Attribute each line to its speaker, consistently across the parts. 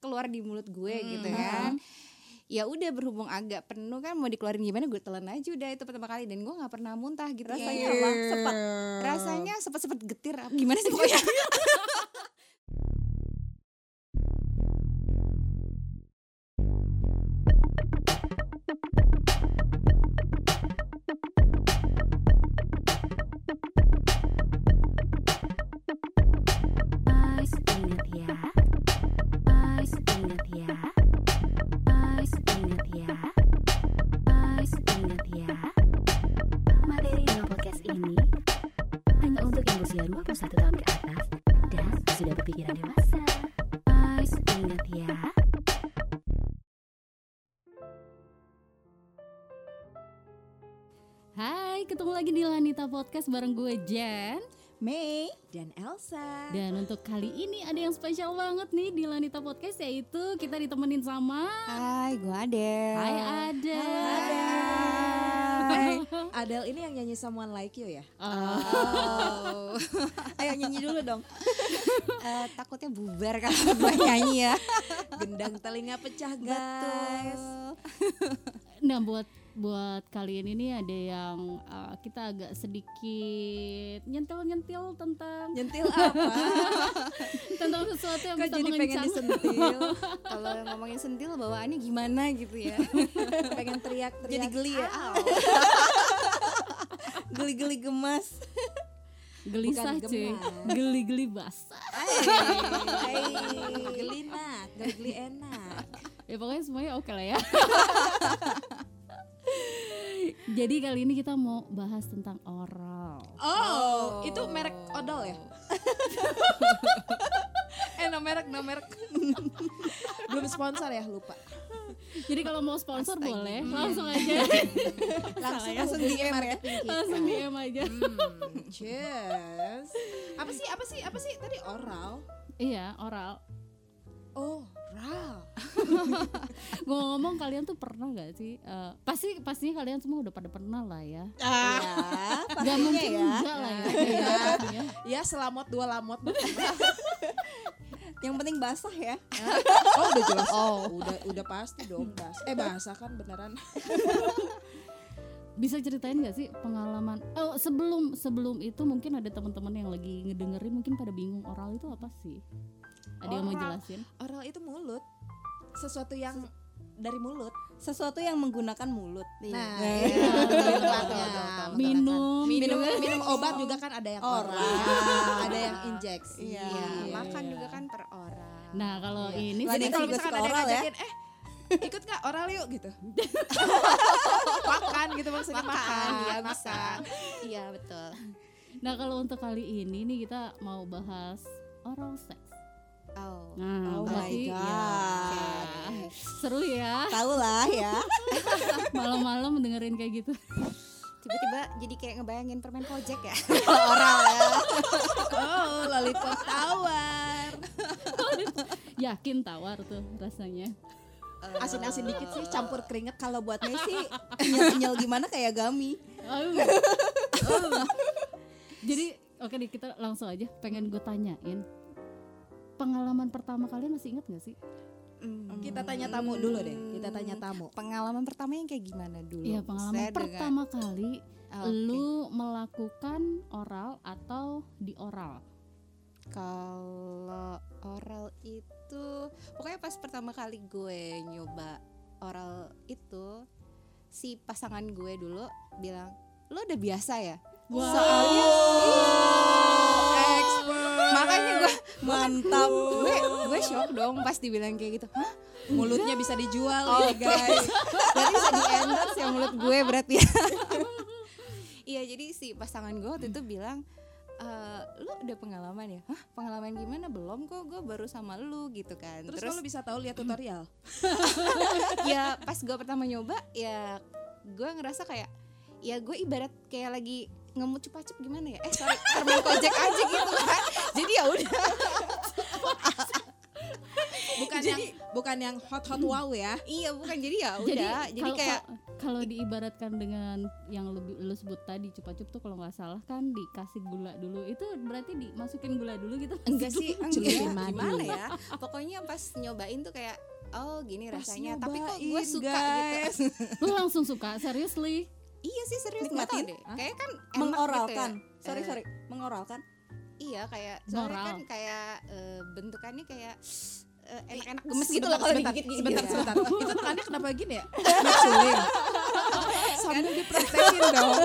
Speaker 1: keluar di mulut gue
Speaker 2: Hmm,
Speaker 1: gitu kan ya udah berhubung agak penuh kan mau dikeluarin gimana gue telan aja udah itu pertama kali dan gue nggak pernah muntah gitu
Speaker 2: Rasanya hmm.
Speaker 1: Kayak
Speaker 2: apa? Sepet.
Speaker 1: rasanya sepet-sepet getir apa gimana sih pokoknya
Speaker 3: Guys, ingat ya. Guys, ingat ya. Guys, ingat ya. Guys, ingat ya. Materi Neo Podcast ini hanya untuk yang usia 21 tahun ke atas dan sudah berpikiran dewasa. Guys, ingat ya. Hai, ketemu lagi di Lanita Podcast bareng gue Jen.
Speaker 2: Mei.
Speaker 1: dan Elsa
Speaker 3: Dan untuk kali ini ada yang spesial banget nih di Lanita Podcast yaitu kita ditemenin sama
Speaker 1: Hai gue Ade
Speaker 3: Hai Ada.
Speaker 2: Hai. Adele ini yang nyanyi Someone Like You ya?
Speaker 3: Oh,
Speaker 1: Oh.
Speaker 2: Ayo nyanyi dulu dong.
Speaker 1: Eh, takutnya bubar kalau gue nyanyi ya
Speaker 2: Gendang telinga pecah guys.
Speaker 1: Betul.
Speaker 3: nah buat buat kalian ini ada yang uh, kita agak sedikit nyentil-nyentil tentang
Speaker 2: Nyentil apa?
Speaker 3: tentang sesuatu yang
Speaker 2: Kok
Speaker 3: bisa
Speaker 2: jadi pengen
Speaker 3: mengencang.
Speaker 2: disentil?
Speaker 1: kalau ngomongin sentil bawaannya gimana gitu ya
Speaker 2: pengen teriak-teriak.
Speaker 1: jadi geli ya
Speaker 2: geli-geli gemas.
Speaker 3: Gelisah
Speaker 2: Bukan
Speaker 3: cuy,
Speaker 2: gemas.
Speaker 3: geli-geli basah.
Speaker 2: Hai. Geli nak, geli enak.
Speaker 3: Ya pokoknya semuanya oke lah ya. Jadi kali ini kita mau bahas tentang oral.
Speaker 2: Oh, itu merek odol ya? eh, no merek, no merek. Belum sponsor ya, lupa.
Speaker 3: Jadi kalau mau sponsor
Speaker 1: Astaga.
Speaker 3: boleh,
Speaker 1: Hmm.
Speaker 3: langsung aja.
Speaker 2: Langsung
Speaker 3: Salah ya.
Speaker 2: langsung di marketing kita.
Speaker 3: langsung DM aja.
Speaker 2: Hmm, cheers. Apa sih? Apa sih? Apa sih? Tadi oral.
Speaker 3: iya, oral.
Speaker 2: Oral.
Speaker 3: Gue ngomong kalian tuh pernah gak sih? eh, pasti pastinya kalian semua udah pada pernah lah ya.
Speaker 2: Ah. Ya,
Speaker 3: Gak mungkin
Speaker 2: ya.
Speaker 3: enggak lah ya. Iya, pastinya.
Speaker 2: Ya, selamot dua lamot.
Speaker 1: yang penting basah ya
Speaker 2: Oh, udah jelas. Oh, udah udah pasti dong, Bas. Eh, bahasa kan beneran.
Speaker 3: Bisa ceritain gak sih pengalaman? Oh, sebelum sebelum itu mungkin ada teman-teman yang lagi ngedengerin mungkin pada bingung oral itu apa sih? Ada yang mau
Speaker 2: Oral.
Speaker 3: jelasin?
Speaker 2: Oral itu mulut. Sesuatu yang dari mulut.
Speaker 1: sesuatu yang menggunakan mulut
Speaker 2: Nah,
Speaker 1: Iya.
Speaker 2: iya, betul, betul, betul, betul, betul.
Speaker 3: Minum,
Speaker 2: minum
Speaker 3: juga.
Speaker 2: minum obat juga kan ada yang oral,
Speaker 1: Oral.
Speaker 2: ada yang injeksi.
Speaker 1: Iya,
Speaker 3: Iya,
Speaker 1: makan
Speaker 3: iya.
Speaker 1: juga kan per orang.
Speaker 3: Nah, kalau ini
Speaker 1: Lah,
Speaker 2: Iya. Jadi
Speaker 1: Lanita
Speaker 2: kalau
Speaker 1: juga suka
Speaker 2: misalkan ada yang
Speaker 1: oral ya?
Speaker 2: ngajakin, eh ikut nggak oral yuk gitu. makan gitu maksudnya makan,
Speaker 1: ya
Speaker 2: makan.
Speaker 1: bisa. Iya, betul.
Speaker 3: Nah, kalau untuk kali ini nih kita mau bahas oral sex.
Speaker 1: Oh.
Speaker 2: Oh
Speaker 3: Nah,
Speaker 2: my
Speaker 3: berarti
Speaker 2: God.
Speaker 3: ya, oke. seru ya
Speaker 2: Tahu lah ya.
Speaker 3: malam-malam dengerin kayak gitu.
Speaker 1: Tiba-tiba jadi kayak ngebayangin permen kojek ya.
Speaker 2: oral ya. Oh, lollipop tawar.
Speaker 3: Yakin tawar tuh rasanya.
Speaker 2: Eh, Asin-asin dikit sih, campur keringet kalau buat Messi.
Speaker 1: Kenyal-kenyal gimana kayak gami.
Speaker 3: Aduh. Jadi oke deh kita langsung aja pengen gue tanyain pengalaman pertama kalian masih ingat gak sih?
Speaker 2: Hmm, Kita tanya tamu dulu deh. Kita tanya tamu.
Speaker 1: Pengalaman pertama yang kayak gimana dulu?
Speaker 3: Iya pengalaman
Speaker 1: Saya
Speaker 3: pertama kali
Speaker 1: dengar- Oh, oke.
Speaker 3: lu melakukan oral atau di oral.
Speaker 1: Kalau oral itu pokoknya pas pertama kali gue nyoba oral itu si pasangan gue dulu bilang lo udah biasa ya soalnya iya, expert. makanya gue
Speaker 2: Mantap.
Speaker 1: gue gue shock dong pas dibilang kayak gitu Hah?
Speaker 2: Mulutnya bisa dijual
Speaker 1: Oh,
Speaker 2: ya, guys.
Speaker 1: berarti bisa di endorse ya mulut gue berarti ya iya jadi si pasangan gue waktu itu bilang "Eh, lu udah pengalaman ya? Hah, pengalaman gimana? Belum kok, gue baru sama lu gitu kan.
Speaker 2: Terus, kalau bisa tahu lihat tutorial.
Speaker 1: ya pas gue pertama nyoba ya gue ngerasa kayak ya gue ibarat kayak lagi ngemut cupacup gimana ya eh sorry permen kojek aja gitu kan jadi ya udah
Speaker 2: Bukan yang bukan yang hot hot wow ya.
Speaker 1: iya bukan jadi ya udah
Speaker 3: Jadi
Speaker 1: jadi,
Speaker 3: kalau-
Speaker 1: kayak
Speaker 3: kalau- kalau diibaratkan dengan yang lu, lu sebut tadi cupa-cup tuh kalau nggak salah kan dikasih gula dulu itu berarti dimasukin gula dulu gitu
Speaker 1: enggak sih enggak
Speaker 2: Celupin madu.
Speaker 1: gimana ya pokoknya pas nyobain tuh kayak oh gini
Speaker 2: Pas
Speaker 1: rasanya tapi kok gue
Speaker 2: nyobain,
Speaker 1: suka
Speaker 2: guys.
Speaker 1: gitu
Speaker 3: lu langsung suka seriously
Speaker 1: iya sih serius nggak tahu
Speaker 2: Nikmatin?
Speaker 1: deh
Speaker 2: Hah?
Speaker 1: kayak kan enak
Speaker 2: mengoralkan.
Speaker 1: gitu ya.
Speaker 2: Sorry
Speaker 1: Eh,
Speaker 2: sorry, mengoralkan.
Speaker 1: iya kayak soalnya
Speaker 3: Moral.
Speaker 1: kan kayak eh, bentukannya kayak eh, enak-enak gemes
Speaker 2: Gemes
Speaker 1: gitu loh kalau digigit gitu
Speaker 2: Sebentar
Speaker 1: ya.
Speaker 2: sebentar. Itu tangannya kenapa gini ya? Maculin.
Speaker 1: Iya.
Speaker 2: Sambil
Speaker 1: Kan?
Speaker 2: dipraktekin dong.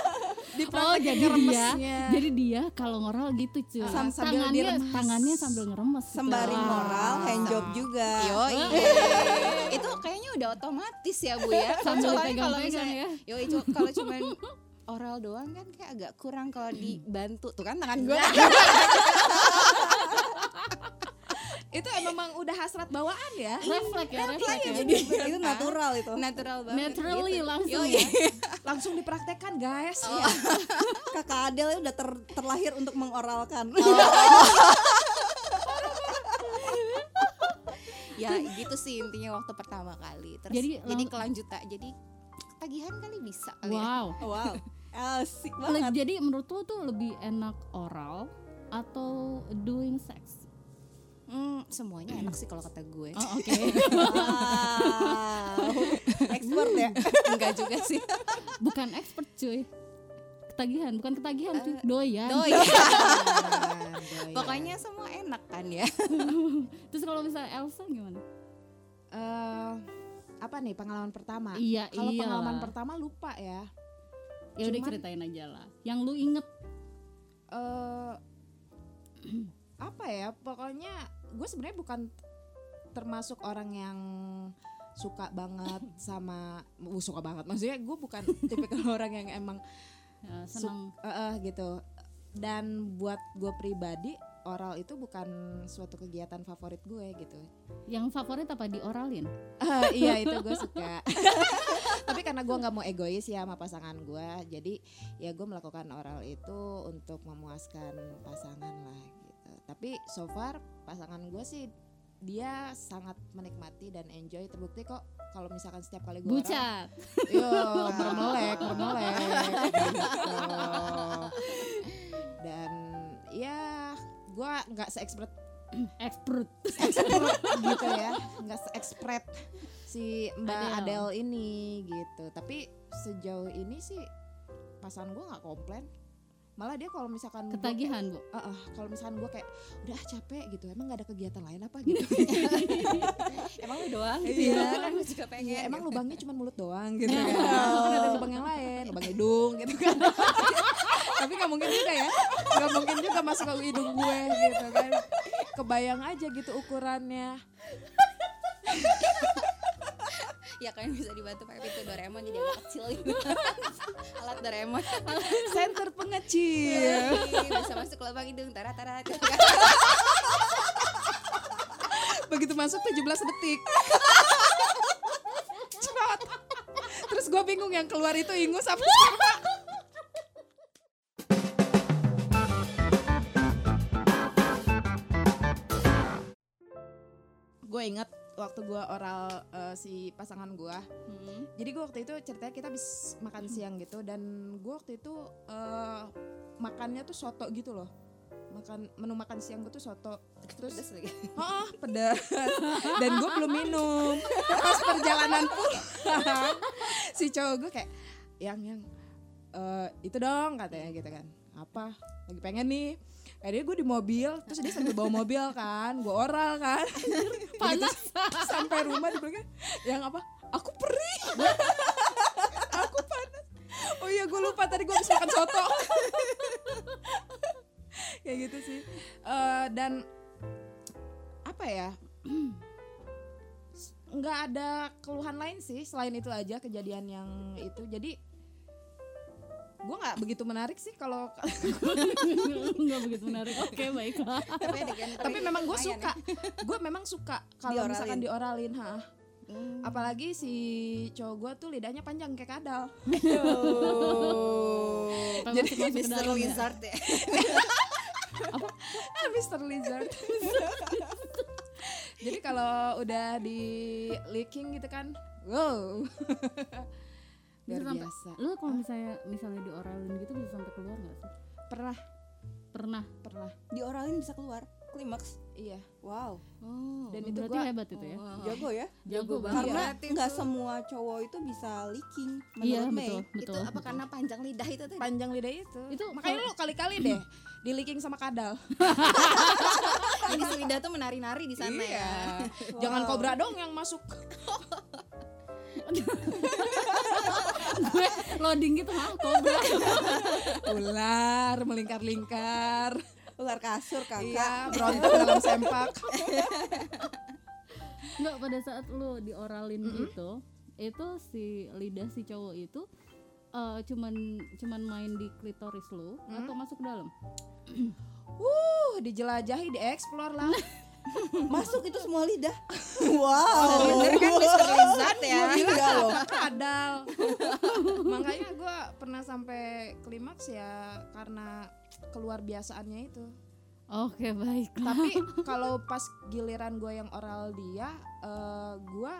Speaker 3: oh
Speaker 2: Dipraktekin
Speaker 3: jadi dia
Speaker 2: ngeremesnya.
Speaker 3: jadi dia kalau ngoral gitu cuy
Speaker 2: Sam- sambil
Speaker 3: tangannya
Speaker 2: diremes.
Speaker 3: tangannya sambil ngeremes gitu.
Speaker 2: sembari
Speaker 3: Wah.
Speaker 2: moral, hand job juga. Nah,
Speaker 1: Yoi. Oh, iya. itu kayaknya udah otomatis ya Bu ya. Kalau
Speaker 3: sambil
Speaker 1: cowoknya kalau
Speaker 3: pegang-pegang
Speaker 1: misalnya
Speaker 3: ya
Speaker 1: Yoi, cu- kalau cuman oral doang kan kayak agak kurang kalau dibantu. Tuh kan tangan gue.
Speaker 3: Iya.
Speaker 2: Itu emang udah hasrat bawaan ya.
Speaker 3: refleks ya refleks ya
Speaker 2: Jadi itu natural itu.
Speaker 1: Natural banget.
Speaker 3: naturally
Speaker 1: gitu.
Speaker 3: langsung
Speaker 1: Yoi.
Speaker 3: ya
Speaker 2: Langsung dipraktekkan guys.
Speaker 1: Oh.
Speaker 2: Iya. Kakak Adel udah ter- terlahir untuk mengoralkan.
Speaker 1: ya gitu sih intinya waktu pertama kali terus jadi,
Speaker 3: Jadi lang-
Speaker 1: kelanjutan jadi tagihan kali bisa kali ya.
Speaker 3: wow
Speaker 2: Wow. Asik
Speaker 3: Le-
Speaker 2: banget.
Speaker 3: jadi menurut lu tuh lebih enak oral atau doing sex
Speaker 1: Hmm, semuanya enak sih kalau kata gue
Speaker 3: oh, oke
Speaker 2: Wow. Expert ya.
Speaker 1: enggak juga sih
Speaker 3: bukan expert cuy ketagihan bukan ketagihan cuy
Speaker 2: Eh,
Speaker 3: doyan
Speaker 1: oh iya
Speaker 2: Doyan.
Speaker 1: pokoknya semua enak kan ya
Speaker 3: terus kalau misalnya Elsa gimana
Speaker 2: Eh, apa nih pengalaman pertama?
Speaker 3: iya
Speaker 2: Ah, Kalau
Speaker 3: iya
Speaker 2: pengalaman pertama lupa ya.
Speaker 3: ya udah
Speaker 2: cuman-
Speaker 3: ceritain aja lah yang lu inget
Speaker 2: eh apa ya? Pokoknya gue sebenarnya bukan termasuk orang yang suka banget sama uh, suka banget. Maksudnya gue bukan tipikal orang yang emang
Speaker 3: eh, senang
Speaker 2: eh, eh, gitu. Dan buat gue pribadi oral itu bukan suatu kegiatan favorit gue gitu.
Speaker 3: yang favorit apa dioralin
Speaker 2: Eh, iya itu gue suka tapi karena gue nggak mau egois ya sama pasangan gue jadi ya gue melakukan oral itu untuk memuaskan pasangan lah gitu tapi so far pasangan gue sih dia sangat menikmati dan enjoy terbukti kok kalau misalkan setiap kali gue oral
Speaker 3: bucat
Speaker 2: yo bermelek bermelek gitu. dan ya gue nggak se expert
Speaker 3: expert
Speaker 2: gitu ya nggak se-expert si Mbak
Speaker 3: Adele.
Speaker 2: Adele. ini gitu tapi sejauh ini sih pasangan gue nggak komplain malah dia kalau misalkan gua-
Speaker 3: ketagihan bu
Speaker 2: Eh, eh, kalau misalkan gue kayak udah ah, capek gitu emang gak ada kegiatan lain apa gitu
Speaker 1: emang lu doang
Speaker 2: gitu ya?
Speaker 1: kan gue juga pengen
Speaker 2: Iya, emang
Speaker 1: gitu.
Speaker 2: lubangnya cuma mulut doang gitu
Speaker 1: Nah.
Speaker 2: kan. Kan ada lubang yang lain, lubang hidung gitu kan. Tapi nggak mungkin juga ya, nggak mungkin juga masuk ke hidung gue gitu kan. Kebayang aja gitu ukurannya.
Speaker 1: ya kan bisa dibantu pakai pintu Doraemon jadi agak kecil gitu alat Doraemon
Speaker 2: Center pengecil.
Speaker 1: Yoi, bisa masuk ke lubang hidung tara tara tara.
Speaker 2: begitu masuk 17 detik Cerot. terus gue bingung yang keluar itu ingus apa sperma. gue inget waktu gue oral eh, si pasangan gue
Speaker 3: Hmm.
Speaker 2: jadi gue waktu itu ceritanya kita habis makan siang gitu dan gue waktu itu eh, makannya tuh soto gitu loh makan menu makan siang gue tuh soto terus
Speaker 1: Pedes lagi.
Speaker 2: Oh, pedas. Dan gue belum minum. Pas perjalanan pulang, si cowok gue kayak, yang yang eh, itu dong katanya gitu kan. Apa? Lagi pengen nih. Akhirnya gue di mobil, terus dia sambil bawa mobil kan, gue oral kan.
Speaker 3: panas
Speaker 2: Begitu sampai rumah dia bilang, yang apa? Aku perih. Aku panas. Oh iya gue lupa tadi gue habis makan soto. Kayak gitu sih. Eh, dan apa ya? S- nggak ada keluhan lain sih selain itu aja kejadian yang itu. Jadi gue nggak begitu menarik sih kalau
Speaker 3: nggak begitu menarik oke baiklah
Speaker 1: tapi, ada genre
Speaker 2: tapi memang gue
Speaker 1: lumayan ya.
Speaker 2: suka gue memang suka kalau
Speaker 1: Dioralin.
Speaker 2: misalkan dioralin ha
Speaker 1: ya. Hmm.
Speaker 2: apalagi si cowok gue tuh lidahnya panjang kayak kadal
Speaker 3: Sampai
Speaker 1: jadi
Speaker 3: masuk-masuk ke
Speaker 1: Mr.
Speaker 3: dalam ya.
Speaker 1: Wizard ya
Speaker 2: Ah, Mr. Lizard jadi kalau udah di leaking gitu kan wow
Speaker 3: Bisa
Speaker 4: luar
Speaker 3: sampai-
Speaker 4: biasa
Speaker 3: Lu kalau misalnya misalnya dioralin gitu bisa sampai keluar nggak sih?
Speaker 4: pernah
Speaker 3: Pernah.
Speaker 4: pernah
Speaker 2: Dioralin bisa keluar klimaks.
Speaker 4: iya
Speaker 2: Wow.
Speaker 3: Oh.
Speaker 4: Dan itu
Speaker 3: berarti
Speaker 4: gua-
Speaker 3: hebat itu ya.
Speaker 2: Jago ya.
Speaker 3: Jago
Speaker 4: Iya.
Speaker 3: banget.
Speaker 2: Karena nggak semua cowok itu bisa leaking
Speaker 3: Iya,
Speaker 2: menurut Mei.
Speaker 3: betul, betul.
Speaker 2: itu apa
Speaker 3: betul.
Speaker 2: karena panjang lidah itu tadi?
Speaker 4: panjang lidah itu
Speaker 3: Itu
Speaker 4: Iya. makanya lu kali-kali deh diliking sama kadal
Speaker 2: Ini si lidah tuh menari-nari
Speaker 4: Iya.
Speaker 2: di sana ya.
Speaker 4: jangan kobra dong yang masuk
Speaker 3: gue loading gitu ha, kobra.
Speaker 4: ular melingkar-lingkar
Speaker 2: Ular kasur kakak.
Speaker 4: iya berontak dalam sempak
Speaker 3: Enggak pada saat lu dioralin gitu, itu si lidah si cowok itu eh, cuman cuman main di klitoris lu atau masuk ke dalam?
Speaker 4: uh dijelajahi dieksplor lah
Speaker 2: Masuk itu semua lidah. wow.
Speaker 4: Bener kan, Mr.
Speaker 2: Lizard ya. Enggak loh.
Speaker 4: kadal makanya gue pernah sampai klimaks ya karena keluar biasaannya itu
Speaker 3: Oke, baik.
Speaker 4: tapi kalau pas giliran gue yang oral dia eh, gue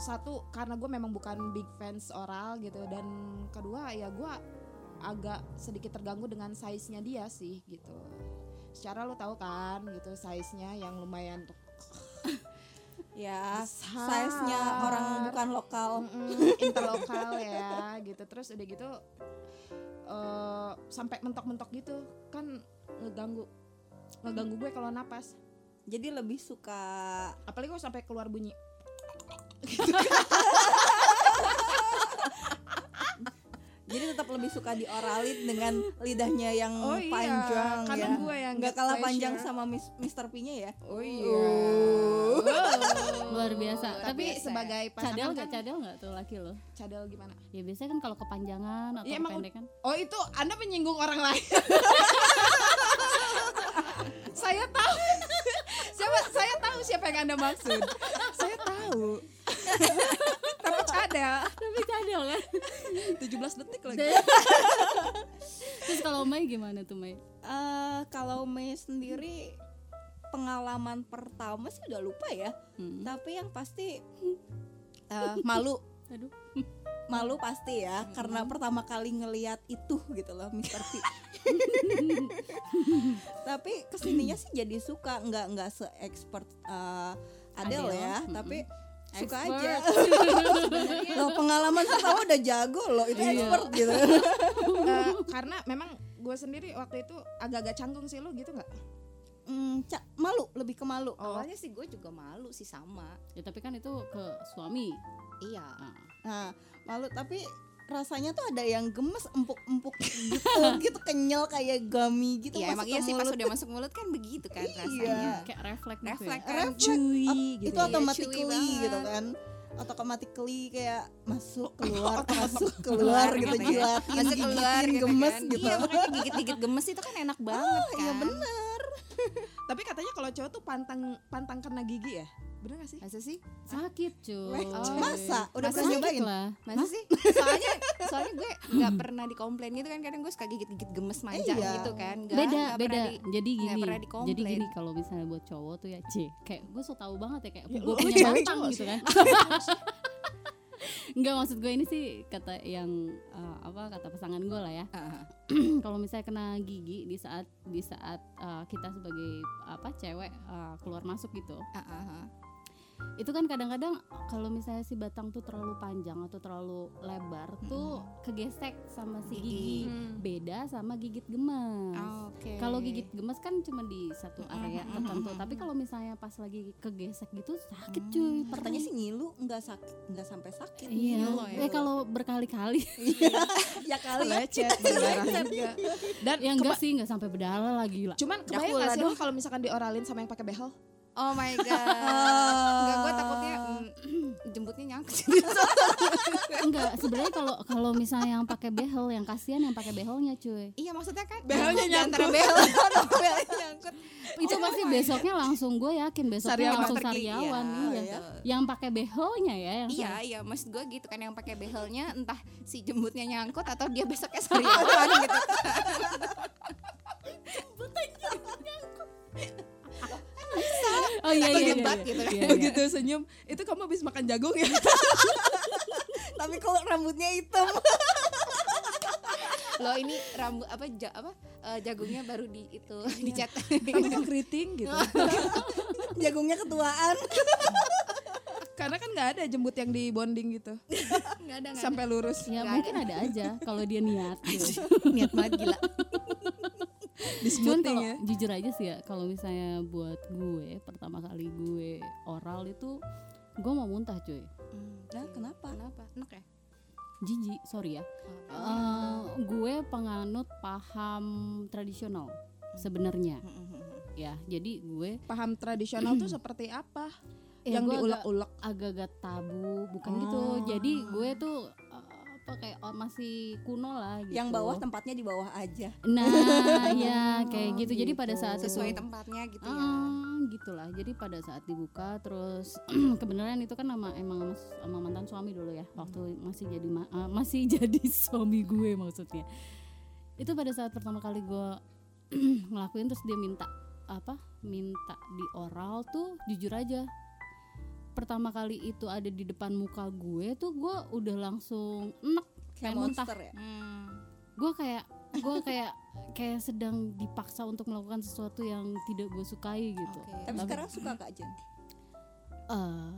Speaker 4: satu karena gue memang bukan big fans oral gitu dan kedua ya gue agak sedikit terganggu dengan size nya dia sih gitu secara lo tahu kan gitu size nya yang lumayan
Speaker 2: Ya,
Speaker 4: Iya, Besar.
Speaker 2: size-nya orang bukan lokal.
Speaker 4: Mm-mm, mm, interlokal ya gitu terus udah gitu eh sampai mentok-mentok gitu kan ngeganggu ngeganggu gue kalau napas
Speaker 2: Jadi lebih suka
Speaker 4: apalagi kalau sampai keluar bunyi
Speaker 2: jadi tetap lebih suka dioralin dengan lidahnya yang
Speaker 4: Oh iya,
Speaker 2: panjang
Speaker 4: karena
Speaker 2: ya.
Speaker 4: gue yang
Speaker 2: nggak
Speaker 4: get
Speaker 2: kalah
Speaker 4: pleasure.
Speaker 2: panjang sama Mis- Mr. P-nya ya.
Speaker 4: oh
Speaker 2: Oh.
Speaker 3: Luar biasa.
Speaker 4: tapi
Speaker 3: Tapi
Speaker 4: sebagai pasangan
Speaker 3: cadel nggak
Speaker 4: kan
Speaker 3: cadel nggak tuh laki lo?
Speaker 4: cadel gimana
Speaker 3: Ya biasanya kan kalau kepanjangan atau kan.
Speaker 4: Iya, emang
Speaker 3: kependekan.
Speaker 4: oh itu anda menyinggung orang lain saya tahu siapa saya tahu siapa yang anda maksud saya tahu tapi cadel
Speaker 3: Tapi cadel kan.
Speaker 4: 17 detik lagi
Speaker 3: Terus kalau Mai gimana tuh Mai?
Speaker 2: Eh, kalau Mei sendiri pengalaman pertama sih udah lupa ya.
Speaker 3: Hmm.
Speaker 2: Tapi yang pasti eh, malu,
Speaker 3: Aduh. Hmm.
Speaker 2: malu pasti ya karena pertama kali ngeliat itu gitu loh Mr. P. Tapi kesininya sih jadi suka, nggak nggak se expert Adele,
Speaker 3: Adele,
Speaker 2: ya,
Speaker 3: mm-mm.
Speaker 2: tapi suka
Speaker 3: Expert.
Speaker 2: aja. Loh pengalaman pertama udah jago loh, itu
Speaker 3: Iya.
Speaker 2: expert gitu.
Speaker 4: Eh, karena memang gue sendiri waktu itu agak-agak canggung sih lu gitu nggak
Speaker 2: Hmm, Ca- malu lebih ke malu.
Speaker 4: Oh.
Speaker 2: Awalnya sih gue juga malu sih sama.
Speaker 3: Ya tapi kan itu ke suami.
Speaker 2: Iya.
Speaker 3: Ah.
Speaker 2: Nah, malu tapi rasanya tuh ada yang gemes empuk-empuk gitu, gitu kenyal kayak gummy gitu.
Speaker 1: Iya
Speaker 2: masuk
Speaker 1: emang
Speaker 2: ke
Speaker 1: iya sih pas
Speaker 2: mulut.
Speaker 1: udah masuk mulut kan begitu kan
Speaker 2: Iya.
Speaker 1: rasanya.
Speaker 3: Kayak refleks gitu ya.
Speaker 1: Refleks kan
Speaker 2: Refleks,
Speaker 1: cuy
Speaker 2: ap-
Speaker 1: gitu.
Speaker 2: itu automatically
Speaker 1: Iya, cuy
Speaker 2: gitu
Speaker 1: banget.
Speaker 2: kan automatically kayak masuk keluar masuk keluar gitu
Speaker 1: gitu ya.
Speaker 2: jilatin
Speaker 1: Masuk keluar
Speaker 2: gigitin
Speaker 1: gitu
Speaker 2: gemes
Speaker 1: kan.
Speaker 2: gitu
Speaker 1: Iya makanya gigit-gigit gemes itu kan enak banget kan.
Speaker 2: iya bener
Speaker 4: tapi katanya kalau cowok tuh pantang pantang kena gigi ya bener gak sih
Speaker 1: Masa sih?
Speaker 3: Sakit cuy.
Speaker 2: Wah, masa udah
Speaker 3: Masa
Speaker 2: pernah
Speaker 3: sakit
Speaker 2: nyobain
Speaker 3: lah.
Speaker 1: Masa sih? Soalnya soalnya gue nggak pernah dikomplain gitu kan kadang gue suka gigit-gigit gemes manja
Speaker 2: Iya.
Speaker 1: gitu kan. Nggak-
Speaker 3: beda
Speaker 1: nggak
Speaker 3: beda
Speaker 1: pernah
Speaker 3: jadi
Speaker 1: nggak
Speaker 3: gini
Speaker 1: pernah
Speaker 3: jadi
Speaker 1: dikomplain.
Speaker 3: gini kalau misalnya buat cowok tuh ya c kayak gue so tau banget ya kayak
Speaker 4: Ya,
Speaker 1: oh,
Speaker 3: gue
Speaker 4: lu- lu
Speaker 3: punya
Speaker 4: cewek
Speaker 3: batang
Speaker 4: cowok
Speaker 3: gitu
Speaker 4: sih.
Speaker 3: kan Enggak maksud gue ini sih kata yang eh, apa kata pasangan gue lah ya
Speaker 1: Heeh.
Speaker 3: kalau misalnya kena gigi di saat di saat eh, kita sebagai apa cewek eh, keluar masuk gitu
Speaker 1: Ah, ah, ah.
Speaker 3: itu kan kadang-kadang kalau misalnya si batang tuh terlalu panjang atau terlalu lebar tuh kegesek sama si
Speaker 1: Gigi. Oh,
Speaker 3: gigi
Speaker 4: Hmm.
Speaker 3: beda sama gigit gemas
Speaker 1: Oke.
Speaker 3: kalau gigit gemes kan cuma di satu area
Speaker 1: Mm-mm,
Speaker 3: tertentu,
Speaker 1: mm-mm, Mm.
Speaker 3: tapi kalau misalnya pas lagi kegesek gitu sakit cuy.
Speaker 2: pertanyaan Hmm, sih ngilu nggak sakit nggak sampai sakit
Speaker 3: Iya.
Speaker 1: Ngilu ya.
Speaker 3: Eh kalau berkali-kali
Speaker 2: ya kali ya
Speaker 4: lecet berdarah juga dan
Speaker 3: ya
Speaker 4: keba-
Speaker 3: enggak sih enggak sampai berdarah lagi lah.
Speaker 4: cuman kebayang
Speaker 1: Dracula
Speaker 4: gak sih lo kalau misalkan dioralin sama yang pakai behel
Speaker 1: Oh my god. Enggak gue takutnya mm, jembutnya nyangkut.
Speaker 3: Enggak, sebenarnya kalau kalau misalnya yang pakai behel yang kasihan yang pakai behelnya cuy.
Speaker 1: iya maksudnya kan
Speaker 4: Behelnya
Speaker 1: di antara
Speaker 4: nyangkut.
Speaker 1: behel sama behelnya nyangkut.
Speaker 3: Itu
Speaker 1: iya,
Speaker 3: pasti besoknya langsung gue yakin besoknya
Speaker 4: Sariawan
Speaker 3: langsung
Speaker 1: Dokter gigi,
Speaker 3: sariawan iya.
Speaker 1: betul.
Speaker 3: Yang pakai behelnya ya yang
Speaker 1: Iya, iya, maksud gue gitu kan yang pakai behelnya entah si jembutnya nyangkut atau dia besoknya sariawan gitu.
Speaker 3: sariawan.
Speaker 4: gitu
Speaker 3: Oh iya iya. iya,
Speaker 1: Terjebak
Speaker 3: iya.
Speaker 1: gitu kan.
Speaker 3: Iya, iya.
Speaker 4: senyum itu kamu habis makan jagung ya
Speaker 2: tapi kalau rambutnya hitam
Speaker 1: Loh ini rambut apa ja- apa eh, jagungnya baru di itu dicat.
Speaker 4: Tapi kok keriting gitu.
Speaker 2: jagungnya ketuaan
Speaker 4: Karena kan nggak ada jembut yang di bonding gitu.
Speaker 1: Enggak ada enggak.
Speaker 4: sampai lurus
Speaker 3: ya
Speaker 1: kan.
Speaker 3: mungkin ada aja kalau dia niat gitu.
Speaker 1: Niat banget gila.
Speaker 4: di
Speaker 3: Cuman
Speaker 4: smoothing
Speaker 3: kalau
Speaker 4: ya.
Speaker 3: jujur aja sih ya kalau misalnya buat gue pertama kali gue oral itu gue mau muntah cuy
Speaker 1: Nah, kenapa? Kenapa? Enak ya?
Speaker 3: jijik sorry ya Eh, gue penganut paham tradisional sebenarnya ya jadi gue
Speaker 4: Paham tradisional tuh seperti apa?
Speaker 3: eh,
Speaker 4: yang
Speaker 3: gue agak-
Speaker 4: diulek-ulek.
Speaker 3: agak-agak tabu bukan gitu jadi gue tuh eh, apa kayak oh, masih kuno lah gitu
Speaker 2: yang bawah tempatnya di bawah aja
Speaker 3: nah ya kayak gitu jadi pada saat itu-
Speaker 1: Sesuai tempatnya gitu
Speaker 2: Iya.
Speaker 1: ya.
Speaker 3: Ah, gitulah. Jadi pada saat dibuka terus kebenaran itu kan nama emang sama, sama mantan suami dulu ya. Waktu
Speaker 2: Hmm.
Speaker 3: masih jadi ma- ah, masih jadi suami gue maksudnya. Itu pada saat pertama kali gue ngelakuin terus dia minta apa? Minta di oral tuh jujur aja. Pertama kali itu ada di depan muka gue tuh gue udah langsung enek
Speaker 2: kayak
Speaker 3: kayak muntah
Speaker 2: monster ya
Speaker 1: Hmm.
Speaker 3: gue kayak gue kayak kayak sedang dipaksa untuk melakukan sesuatu yang tidak gue sukai gitu.
Speaker 1: Oke.
Speaker 2: tapi sekarang suka kak Jen
Speaker 3: Eh,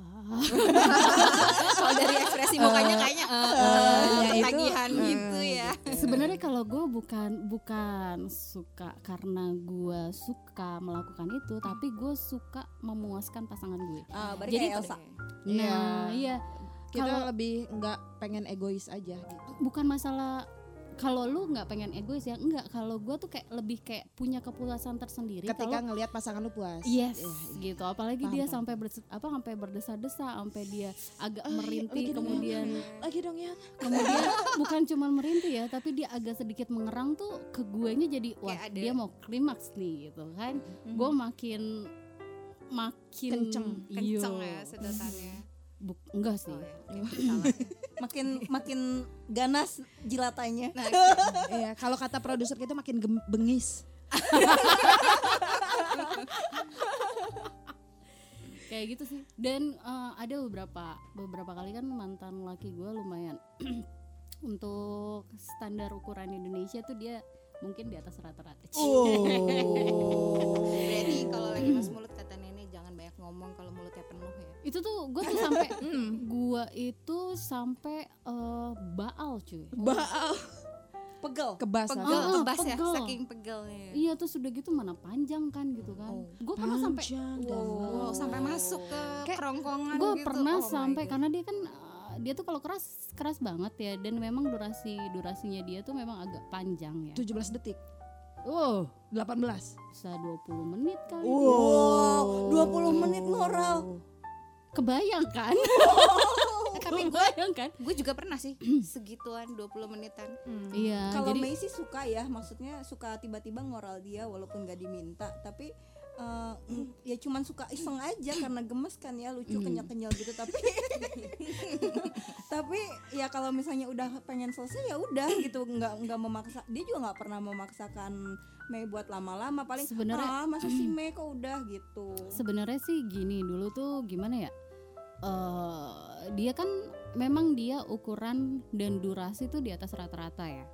Speaker 1: Kalau Oh, dari ekspresi mukanya kayaknya eh,
Speaker 5: ya itu,
Speaker 1: ketagihan gitu ya.
Speaker 3: sebenarnya kalau gue bukan bukan suka karena gue suka melakukan itu, tapi gue suka memuaskan pasangan gue.
Speaker 2: Ah, berarti
Speaker 3: Jadi-
Speaker 2: kayak Elsa
Speaker 3: Nah, iya
Speaker 4: Kita
Speaker 3: kalau
Speaker 4: lebih nggak pengen egois aja gitu.
Speaker 3: bukan masalah kalau lu nggak pengen egois ya enggak kalau gue tuh kayak lebih kayak punya kepuasan tersendiri
Speaker 4: Iya,
Speaker 5: Ketika
Speaker 3: kalau
Speaker 5: ngelihat pasangan lu puas.
Speaker 3: Yes,
Speaker 5: Iya, iya.
Speaker 3: gitu. Apalagi
Speaker 5: Paham, Oh,
Speaker 3: dia
Speaker 5: paham.
Speaker 3: sampai berse- apa sampai berdesa-desa, sampai dia agak
Speaker 4: Ah, iya,
Speaker 3: merintih,
Speaker 4: lagi dong,
Speaker 3: kemudian
Speaker 4: Lagi dong ya.
Speaker 3: kemudian bukan cuman merintih ya, tapi dia agak sedikit mengerang tuh ke guenya jadi wah
Speaker 1: Kayak ada- Mhm.
Speaker 3: dia mau klimaks nih gitu kan. Gue makin makin
Speaker 4: Kenceng.
Speaker 3: Iyo.
Speaker 1: Kenceng ya sedotannya.
Speaker 3: Buk- enggak sih.
Speaker 1: Oh, ya. Oke, salah.
Speaker 2: makin makin ganas jilatannya
Speaker 1: Nah,
Speaker 4: Iya, kalau kata produser kita makin gem- bengis.
Speaker 3: Kayak gitu sih. Dan eh, ada beberapa beberapa kali kan mantan laki gue lumayan untuk standar ukuran Indonesia tuh dia mungkin di atas rata-rata.
Speaker 1: Oh. berarti kalau lagi mas mulut kata nenek jangan banyak ngomong kalau mulutnya penuh ya.
Speaker 3: itu tuh gue tuh sampai
Speaker 1: Hmm.
Speaker 3: gue itu sampai eh, baal cuy
Speaker 4: Baal
Speaker 2: pegel
Speaker 4: kebas
Speaker 1: Pegel,
Speaker 3: Ah,
Speaker 1: kebas ya,
Speaker 3: pegel.
Speaker 1: saking pegelnya.
Speaker 3: iya tuh sudah gitu mana panjang kan gitu kan
Speaker 1: Oh.
Speaker 3: gue pernah
Speaker 1: gitu.
Speaker 3: sampai
Speaker 1: Wow, sampai masuk ke kerongkongan
Speaker 3: gue
Speaker 1: gitu.
Speaker 3: pernah
Speaker 1: Oh my
Speaker 3: sampai
Speaker 1: God.
Speaker 3: karena dia kan eh, dia tuh kalau keras keras banget ya dan memang durasi durasinya dia tuh memang agak panjang ya
Speaker 4: 17 detik,
Speaker 3: oh
Speaker 4: 18.
Speaker 3: bisa 20 menit kali
Speaker 2: wow 20 Oh, menit moral
Speaker 3: kebayang kan
Speaker 1: Eh, tapi gue
Speaker 3: kebayang kan
Speaker 1: gue juga pernah sih segituan 20 menitan.
Speaker 4: Hmm,
Speaker 3: iya
Speaker 2: kalau
Speaker 3: jadi
Speaker 2: Mei sih suka ya maksudnya suka tiba-tiba ngoral dia walaupun gak diminta tapi eh, ya cuman suka iseng aja karena gemes kan ya lucu kenyal-kenyal gitu tapi tapi ya kalau misalnya udah pengen selesai ya udah gitu nggak nggak memaksa dia juga nggak pernah memaksakan Mei buat lama-lama paling
Speaker 3: Sebenarnya-
Speaker 2: ah masa sih Mei kok udah gitu
Speaker 3: Sebenarnya sih gini dulu tuh gimana ya? eh dia kan memang dia ukuran dan durasi tuh di atas rata-rata ya.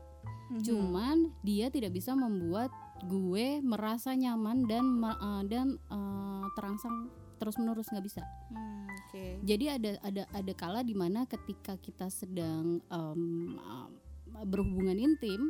Speaker 3: Cuman dia tidak bisa membuat gue merasa nyaman dan me- eh, dan eh, terangsang terus-menerus nggak bisa.
Speaker 1: Hmm, Oke.
Speaker 3: Jadi ada ada ada kala dimana ketika kita sedang em, em, berhubungan intim,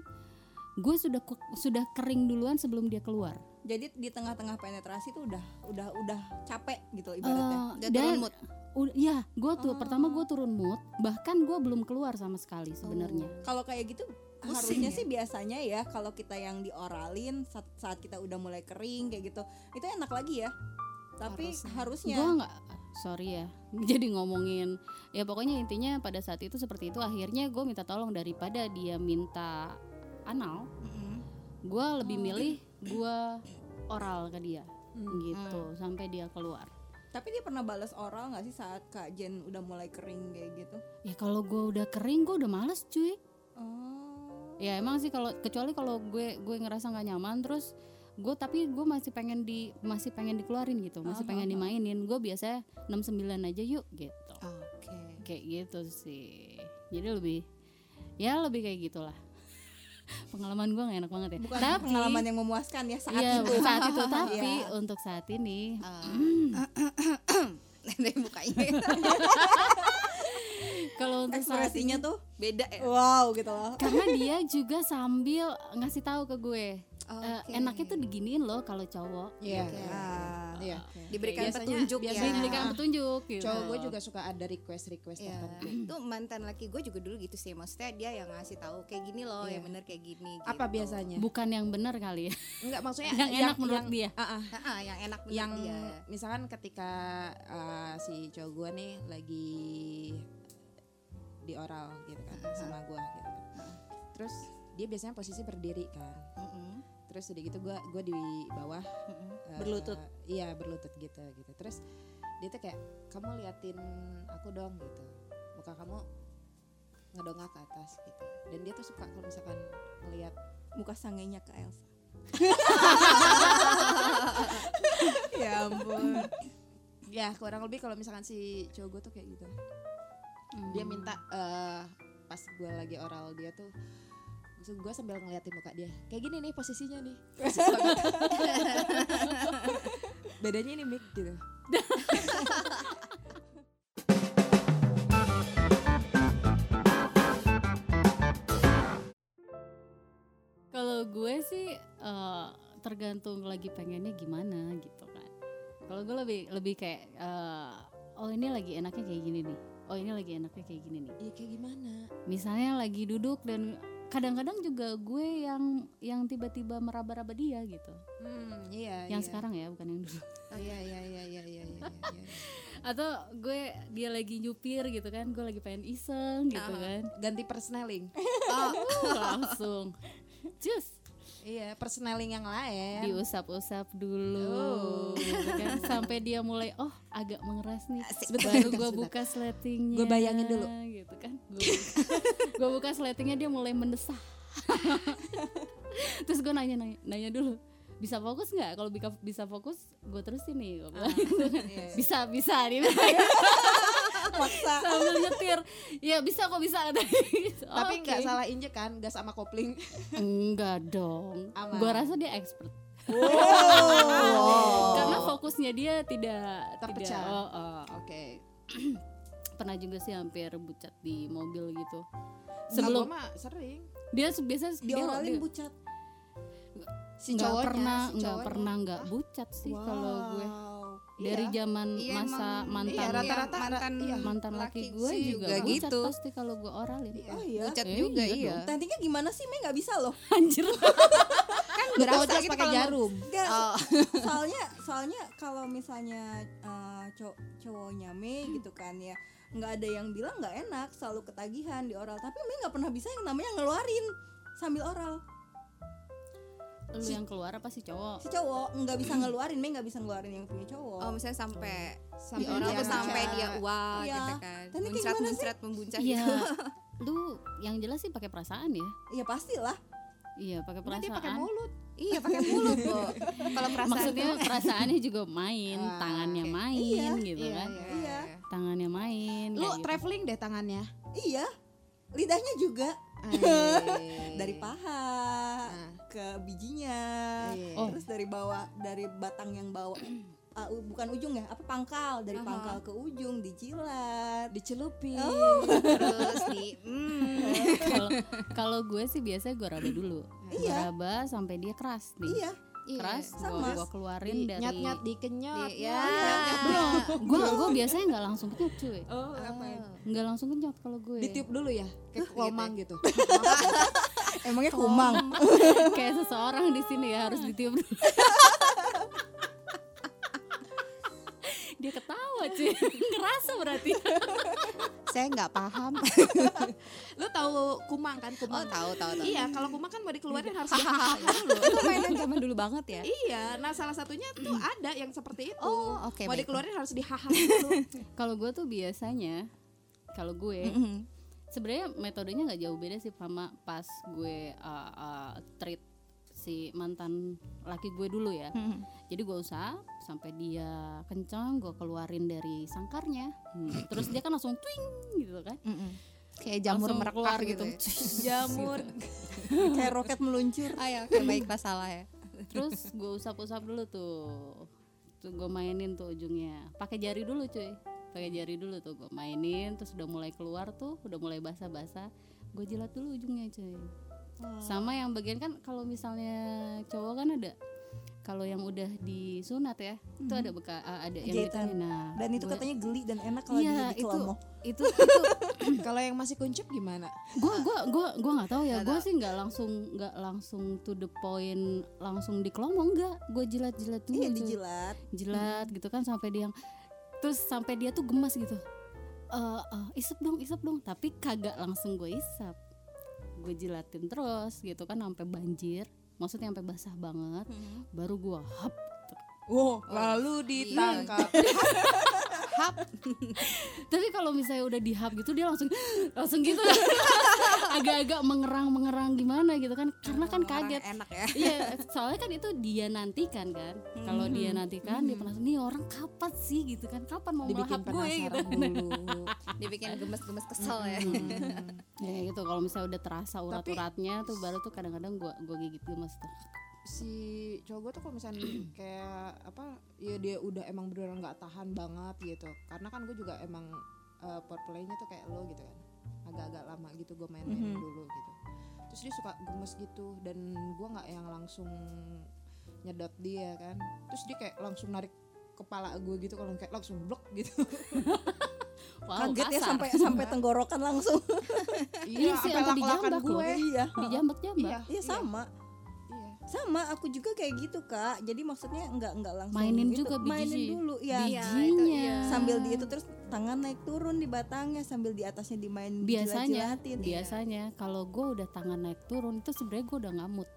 Speaker 3: gue sudah ku- sudah kering duluan sebelum dia keluar.
Speaker 2: jadi di tengah-tengah penetrasi tuh udah udah udah capek gitu ibaratnya
Speaker 1: Dan
Speaker 3: Eh,
Speaker 1: turun mood. Oh.
Speaker 3: Ud- ya gue tuh pertama gue turun mood bahkan gue belum keluar sama sekali sebenarnya
Speaker 1: Oh,
Speaker 2: kalau kayak gitu
Speaker 1: Pusing
Speaker 2: harusnya
Speaker 1: ya?
Speaker 2: sih biasanya ya kalau kita yang dioralin saat, saat kita udah mulai kering kayak gitu itu enak lagi ya tapi
Speaker 1: iya.
Speaker 2: harusnya,
Speaker 3: gue nggak sorry ya jadi ngomongin ya pokoknya intinya pada saat itu seperti itu akhirnya gue minta tolong daripada dia minta anal
Speaker 1: Mm-mm.
Speaker 3: gue lebih
Speaker 1: Oh,
Speaker 3: milih gue oral ke dia
Speaker 1: Mm-hmm.
Speaker 3: gitu sampai dia keluar
Speaker 2: tapi dia pernah balas oral nggak sih saat kak Jen udah mulai kering kayak gitu
Speaker 3: ya kalau gue udah kering gue udah males cuy
Speaker 2: oh
Speaker 3: ya emang sih kalau kecuali kalau gue gue ngerasa nggak nyaman terus gue tapi gue masih pengen di masih pengen dikeluarin gitu
Speaker 6: Ah,
Speaker 3: masih pengen dimainin gue biasanya 69 aja yuk gitu
Speaker 6: Oke.
Speaker 3: kayak gitu sih jadi lebih ya lebih kayak gitulah pengalaman gue gak enak banget ya
Speaker 6: Bukan
Speaker 3: tapi
Speaker 6: pengalaman yang memuaskan ya saat
Speaker 3: iya,
Speaker 6: itu.
Speaker 3: saat itu tapi
Speaker 6: Iya. Ah.
Speaker 3: untuk saat ini
Speaker 1: Nenek mukanya
Speaker 3: kalau untuk saat
Speaker 6: Ekspresinya
Speaker 3: ini
Speaker 6: tuh
Speaker 1: beda ya.
Speaker 6: wow gitu loh.
Speaker 3: karena dia juga sambil ngasih tahu ke gue eh,
Speaker 6: Oke. Ya.
Speaker 3: enaknya tuh diginiin loh kalau cowok
Speaker 4: Iya.
Speaker 6: Ah,
Speaker 4: Iya.
Speaker 1: Diberikan
Speaker 4: Biasanya-
Speaker 1: petunjuk
Speaker 4: biasanya
Speaker 1: ya.
Speaker 3: diberikan petunjuk gitu
Speaker 4: Cowok gue juga suka ada request-request
Speaker 1: Iya,
Speaker 4: tertentu.
Speaker 1: itu mantan laki gue juga dulu gitu sih. Maksudnya dia yang ngasih tahu kayak gini loh,
Speaker 4: Iya.
Speaker 1: yang bener kayak gini.
Speaker 4: Apa
Speaker 1: gitu.
Speaker 4: biasanya?
Speaker 3: bukan yang benar kali ya
Speaker 4: Enggak maksudnya
Speaker 3: yang, enak menurut dia
Speaker 4: Ah, ah,
Speaker 1: Ah, ah, yang enak menurut
Speaker 4: yang
Speaker 1: dia.
Speaker 4: misalkan ketika ah, si cowok gue nih lagi di oral gitu kan sama gue gitu kan. Terus dia biasanya posisi berdiri kan.
Speaker 1: Mm-mm.
Speaker 4: Terus udah gitu gue gue di bawah eh,
Speaker 6: Berlutut.
Speaker 4: iya berlutut gitu gitu. Terus dia tuh kayak kamu liatin aku dong gitu. Muka kamu ngedongak ke atas gitu. Dan dia tuh suka kalau misalkan ngeliat
Speaker 6: Muka sangenya ke Elsa. ya ampun.
Speaker 4: ya kurang lebih kalau misalkan si cowok gue tuh kayak gitu dia minta eh pas gue lagi oral dia tuh gue sambil ngeliatin muka dia kayak gini nih posisinya nih Terus suka gitu. bedanya ini mic gitu
Speaker 3: Kalau gue sih eh, tergantung lagi pengennya gimana gitu kan. Kalau gue lebih lebih kayak eh, oh ini lagi enaknya kayak gini nih. Oh ini lagi enaknya kayak gini nih.
Speaker 4: iya kayak gimana
Speaker 3: Misalnya lagi duduk dan kadang-kadang juga gue yang yang tiba-tiba meraba-raba dia gitu.
Speaker 4: hmm iya
Speaker 3: yang
Speaker 4: iya.
Speaker 3: sekarang ya bukan yang dulu.
Speaker 4: Oh, iya iya iya iya iya iya, iya.
Speaker 3: Atau gue dia lagi nyupir gitu kan, gue lagi pengen iseng gitu kan.
Speaker 4: ganti persneling
Speaker 3: Uh, langsung. Cus.
Speaker 4: iya persneling yang lain
Speaker 3: diusap-usap
Speaker 4: Oh.
Speaker 3: dulu gitu kan sampai dia mulai oh agak mengeras nih
Speaker 4: Sebentar,
Speaker 3: baru
Speaker 4: sebentar,
Speaker 3: gue
Speaker 4: sebentar.
Speaker 3: buka sletingnya
Speaker 4: Gua bayangin dulu.
Speaker 3: gitu kan gue buka sletingnya dia mulai mendesah terus gue nanya, nanya nanya dulu bisa fokus nggak kalau bisa bisa fokus gue terusin nih Gua bilang gitu
Speaker 4: Ah,
Speaker 3: kan.
Speaker 4: iya.
Speaker 3: bisa bisa dia bilang. sambil nyetir ya bisa kok bisa
Speaker 4: tapi
Speaker 3: Oke.
Speaker 4: nggak salah injek kan nggak sama kopling
Speaker 3: enggak dong
Speaker 4: Aman.
Speaker 3: gue rasa dia expert karena fokusnya dia tidak
Speaker 4: Terpecah.
Speaker 3: tidak- oh, oh.
Speaker 4: oke
Speaker 3: pernah juga sih hampir bucat di mobil gitu
Speaker 4: sebelum
Speaker 3: sebelum
Speaker 4: mah sering
Speaker 3: dia se- biasa dia-
Speaker 6: Dioralin
Speaker 3: dia
Speaker 6: bucat.
Speaker 4: si
Speaker 3: nggak
Speaker 4: cowoknya,
Speaker 3: pernah
Speaker 4: si
Speaker 3: nggak
Speaker 4: cowoknya.
Speaker 3: pernah nggak bucat sih kalau gue dari
Speaker 4: Iya.
Speaker 3: zaman
Speaker 1: Iya,
Speaker 3: masa
Speaker 1: emang-
Speaker 3: mantan
Speaker 4: iya, rata-rata
Speaker 1: mantan
Speaker 4: iya.
Speaker 3: mantan laki,
Speaker 1: laki
Speaker 3: gue
Speaker 1: sih
Speaker 3: juga,
Speaker 1: juga
Speaker 3: bucat
Speaker 1: gitu.
Speaker 3: pasti kalau gue oralin
Speaker 6: Oh iya.
Speaker 1: Pucat
Speaker 3: Eh,
Speaker 1: juga iya.
Speaker 3: iya
Speaker 6: Tekniknya gimana sih, Mei? Gak bisa loh.
Speaker 3: anjir
Speaker 4: berasa
Speaker 1: gitu
Speaker 4: pakai
Speaker 1: kalau- Oh,
Speaker 4: jarum
Speaker 6: Gak, soalnya soalnya kalau misalnya eh, cow- cowoknya Mei gitu kan ya nggak ada yang bilang nggak enak selalu ketagihan di oral tapi Mei nggak pernah bisa yang namanya ngeluarin sambil oral
Speaker 3: lu yang keluar apa sih cowok
Speaker 6: si cowok nggak bisa ngeluarin Mei nggak bisa ngeluarin yang punya cowok
Speaker 1: Oh, misalnya sampai
Speaker 4: sampai
Speaker 1: orang
Speaker 4: dia
Speaker 1: tuh
Speaker 4: bicara.
Speaker 1: sampai dia wah
Speaker 6: Iya.
Speaker 1: gitu kan.
Speaker 6: Tapi kayak
Speaker 1: Muncrat
Speaker 6: gimana sih?
Speaker 1: muncrat membuncah
Speaker 3: iya
Speaker 1: gitu.
Speaker 3: lu yang jelas sih pakai perasaan ya
Speaker 6: ya pastilah
Speaker 3: iya pakai
Speaker 4: Enggak, dia
Speaker 3: perasaan
Speaker 4: pakai mulut kan ya.
Speaker 1: iya, pakai mulut, Bu. Kalau perasaan
Speaker 3: maksudnya
Speaker 1: tuh-
Speaker 3: perasaannya juga main
Speaker 4: Ah,
Speaker 3: tangannya
Speaker 1: oke.
Speaker 3: main
Speaker 6: Iya,
Speaker 3: gitu
Speaker 4: iya,
Speaker 3: kan
Speaker 4: iya.
Speaker 6: iya
Speaker 3: tangannya main
Speaker 4: lu
Speaker 3: kayak gitu.
Speaker 4: traveling deh tangannya
Speaker 6: iya lidahnya juga
Speaker 4: Ay.
Speaker 6: dari paha
Speaker 4: Nah.
Speaker 6: ke bijinya
Speaker 4: Iya.
Speaker 3: Oh.
Speaker 6: terus dari bawah dari batang yang bawah ah, u- bukan ujung ya apa pangkal dari
Speaker 1: Aha.
Speaker 6: pangkal ke ujung dijilat
Speaker 4: dicelupin
Speaker 1: Terus di hmm.
Speaker 3: kalau kalau gue sih biasanya gue raba dulu gue
Speaker 6: Iya.
Speaker 3: raba sampai dia keras nih
Speaker 6: iya
Speaker 3: keras
Speaker 6: Iya,
Speaker 3: gue
Speaker 6: sama.
Speaker 3: gue keluarin
Speaker 4: Di-
Speaker 3: dari
Speaker 4: nyat-nyat dikenyot
Speaker 1: Di- ya.
Speaker 3: gue gue biasanya nggak langsung kenyot cuy
Speaker 4: oh
Speaker 3: nggak langsung kenyot kalau gue
Speaker 4: ditiup dulu ya
Speaker 1: eh,
Speaker 4: kayak kelomang gitu
Speaker 6: emangnya kumang
Speaker 3: kayak seseorang di sini ya harus ditiup dulu dia ketawa cuy ngerasa berarti
Speaker 1: Saya nggak paham.
Speaker 4: lu tahu kumang kan
Speaker 1: Oh,
Speaker 4: kumang
Speaker 1: tahu tahu tahu.
Speaker 4: iya kalau kumang kan mau dikeluarin harus
Speaker 1: Itu mainan zaman dulu banget ya.
Speaker 4: iya nah salah satunya tuh ada yang seperti itu
Speaker 1: Oh, oke,
Speaker 4: mau
Speaker 1: baik.
Speaker 4: dikeluarin harus dihaham dulu
Speaker 3: kalau gue tuh biasanya kalau gue sebenarnya metodenya nggak jauh beda sih sama pas gue uh, uh, treat si mantan laki gue dulu ya jadi gue usah sampai dia kenceng gue keluarin dari sangkarnya Hmm, terus dia kan langsung twing gitu kan
Speaker 1: Kayak jamur
Speaker 3: Langsung
Speaker 1: merekah
Speaker 3: keluar
Speaker 1: gitu. ya.
Speaker 2: jamur kayak roket meluncur
Speaker 1: Ah ya, oke baik masalah ya.
Speaker 3: terus gue usap-usap dulu tuh tuh gue mainin tuh ujungnya pakai jari dulu cuy pakai jari dulu tuh gue mainin terus udah mulai keluar tuh udah mulai basah-basah gue jilat dulu ujungnya cuy sama yang bagian kan kalau misalnya cowok kan ada kalau yang udah disunat ya itu ada beka ah, ada yang
Speaker 2: Jahitan.
Speaker 3: gitu nah
Speaker 2: Mhm. dan itu
Speaker 3: gue-
Speaker 2: katanya geli dan enak kalau
Speaker 3: Iya,
Speaker 2: di dikelompok
Speaker 3: itu itu
Speaker 4: Kalau yang masih kuncup gimana?
Speaker 3: gue gua gua gua nggak tahu ya gue sih nggak langsung nggak langsung to the point langsung di kelomong nggak gue jilat jilat dulu
Speaker 2: iya
Speaker 3: cuy.
Speaker 2: dijilat
Speaker 3: jilat gitu kan sampai dia yang terus sampai dia tuh gemas gitu Eh, eh, isep dong isep dong tapi kagak langsung gue isep gue jilatin terus gitu kan sampai banjir maksudnya sampai basah banget baru gue hap gitu.
Speaker 4: Oh,
Speaker 7: Wow, lalu
Speaker 4: iya.
Speaker 7: ditangkap.
Speaker 3: tapi kalau misalnya udah dihap gitu dia langsung langsung gitu agak-agak mengerang mengerang gimana gitu kan karena kan kaget
Speaker 1: Orang Enak ya.
Speaker 3: Iya, soalnya kan itu dia nantikan kan. Kalau dia nantikan, dia penasaran nih orang kapan sih gitu kan? Kapan mau melahap
Speaker 4: Dibikin
Speaker 3: gue gitu.
Speaker 4: penasaran dulu.
Speaker 1: Dibikin gemes-gemes kesel ya.
Speaker 3: Ya gitu kalau misalnya udah terasa urat-uratnya tuh baru tuh kadang-kadang gua gua gigit gemes tuh.
Speaker 4: si cowok gue tuh kalau misalnya kayak apa ya dia udah emang beneran nggak tahan banget gitu karena kan gue juga emang uh, nya tuh kayak lo gitu kan agak-agak lama gitu gue main-main
Speaker 2: Mhm.
Speaker 4: dulu gitu terus dia suka gemes gitu dan gue nggak yang langsung nyedot dia kan terus dia kayak langsung narik kepala gue gitu kalau kayak langsung blok gitu
Speaker 3: Wow,
Speaker 2: kaget ya
Speaker 3: kasar.
Speaker 2: sampai sampai tenggorokan langsung
Speaker 3: Iya sih,
Speaker 4: sampai
Speaker 3: sampai
Speaker 4: lak-lakan
Speaker 3: dijambak
Speaker 4: gue
Speaker 2: iya
Speaker 3: Dijambak-jambak.
Speaker 2: iya sama
Speaker 4: iya.
Speaker 2: sama aku juga kayak gitu kak jadi maksudnya nggak nggak langsung
Speaker 3: Mainin
Speaker 2: gitu.
Speaker 3: juga biji
Speaker 2: mainin
Speaker 3: sih.
Speaker 2: dulu ya
Speaker 1: Biji. itu
Speaker 3: Bijinya.
Speaker 1: iya.
Speaker 2: sambil di itu terus tangan naik turun di batangnya sambil di atasnya dimain Iya.
Speaker 3: biasanya
Speaker 2: jilat-jilatin.
Speaker 3: biasanya kalau gua udah tangan naik turun itu sebenarnya gua udah ngamut.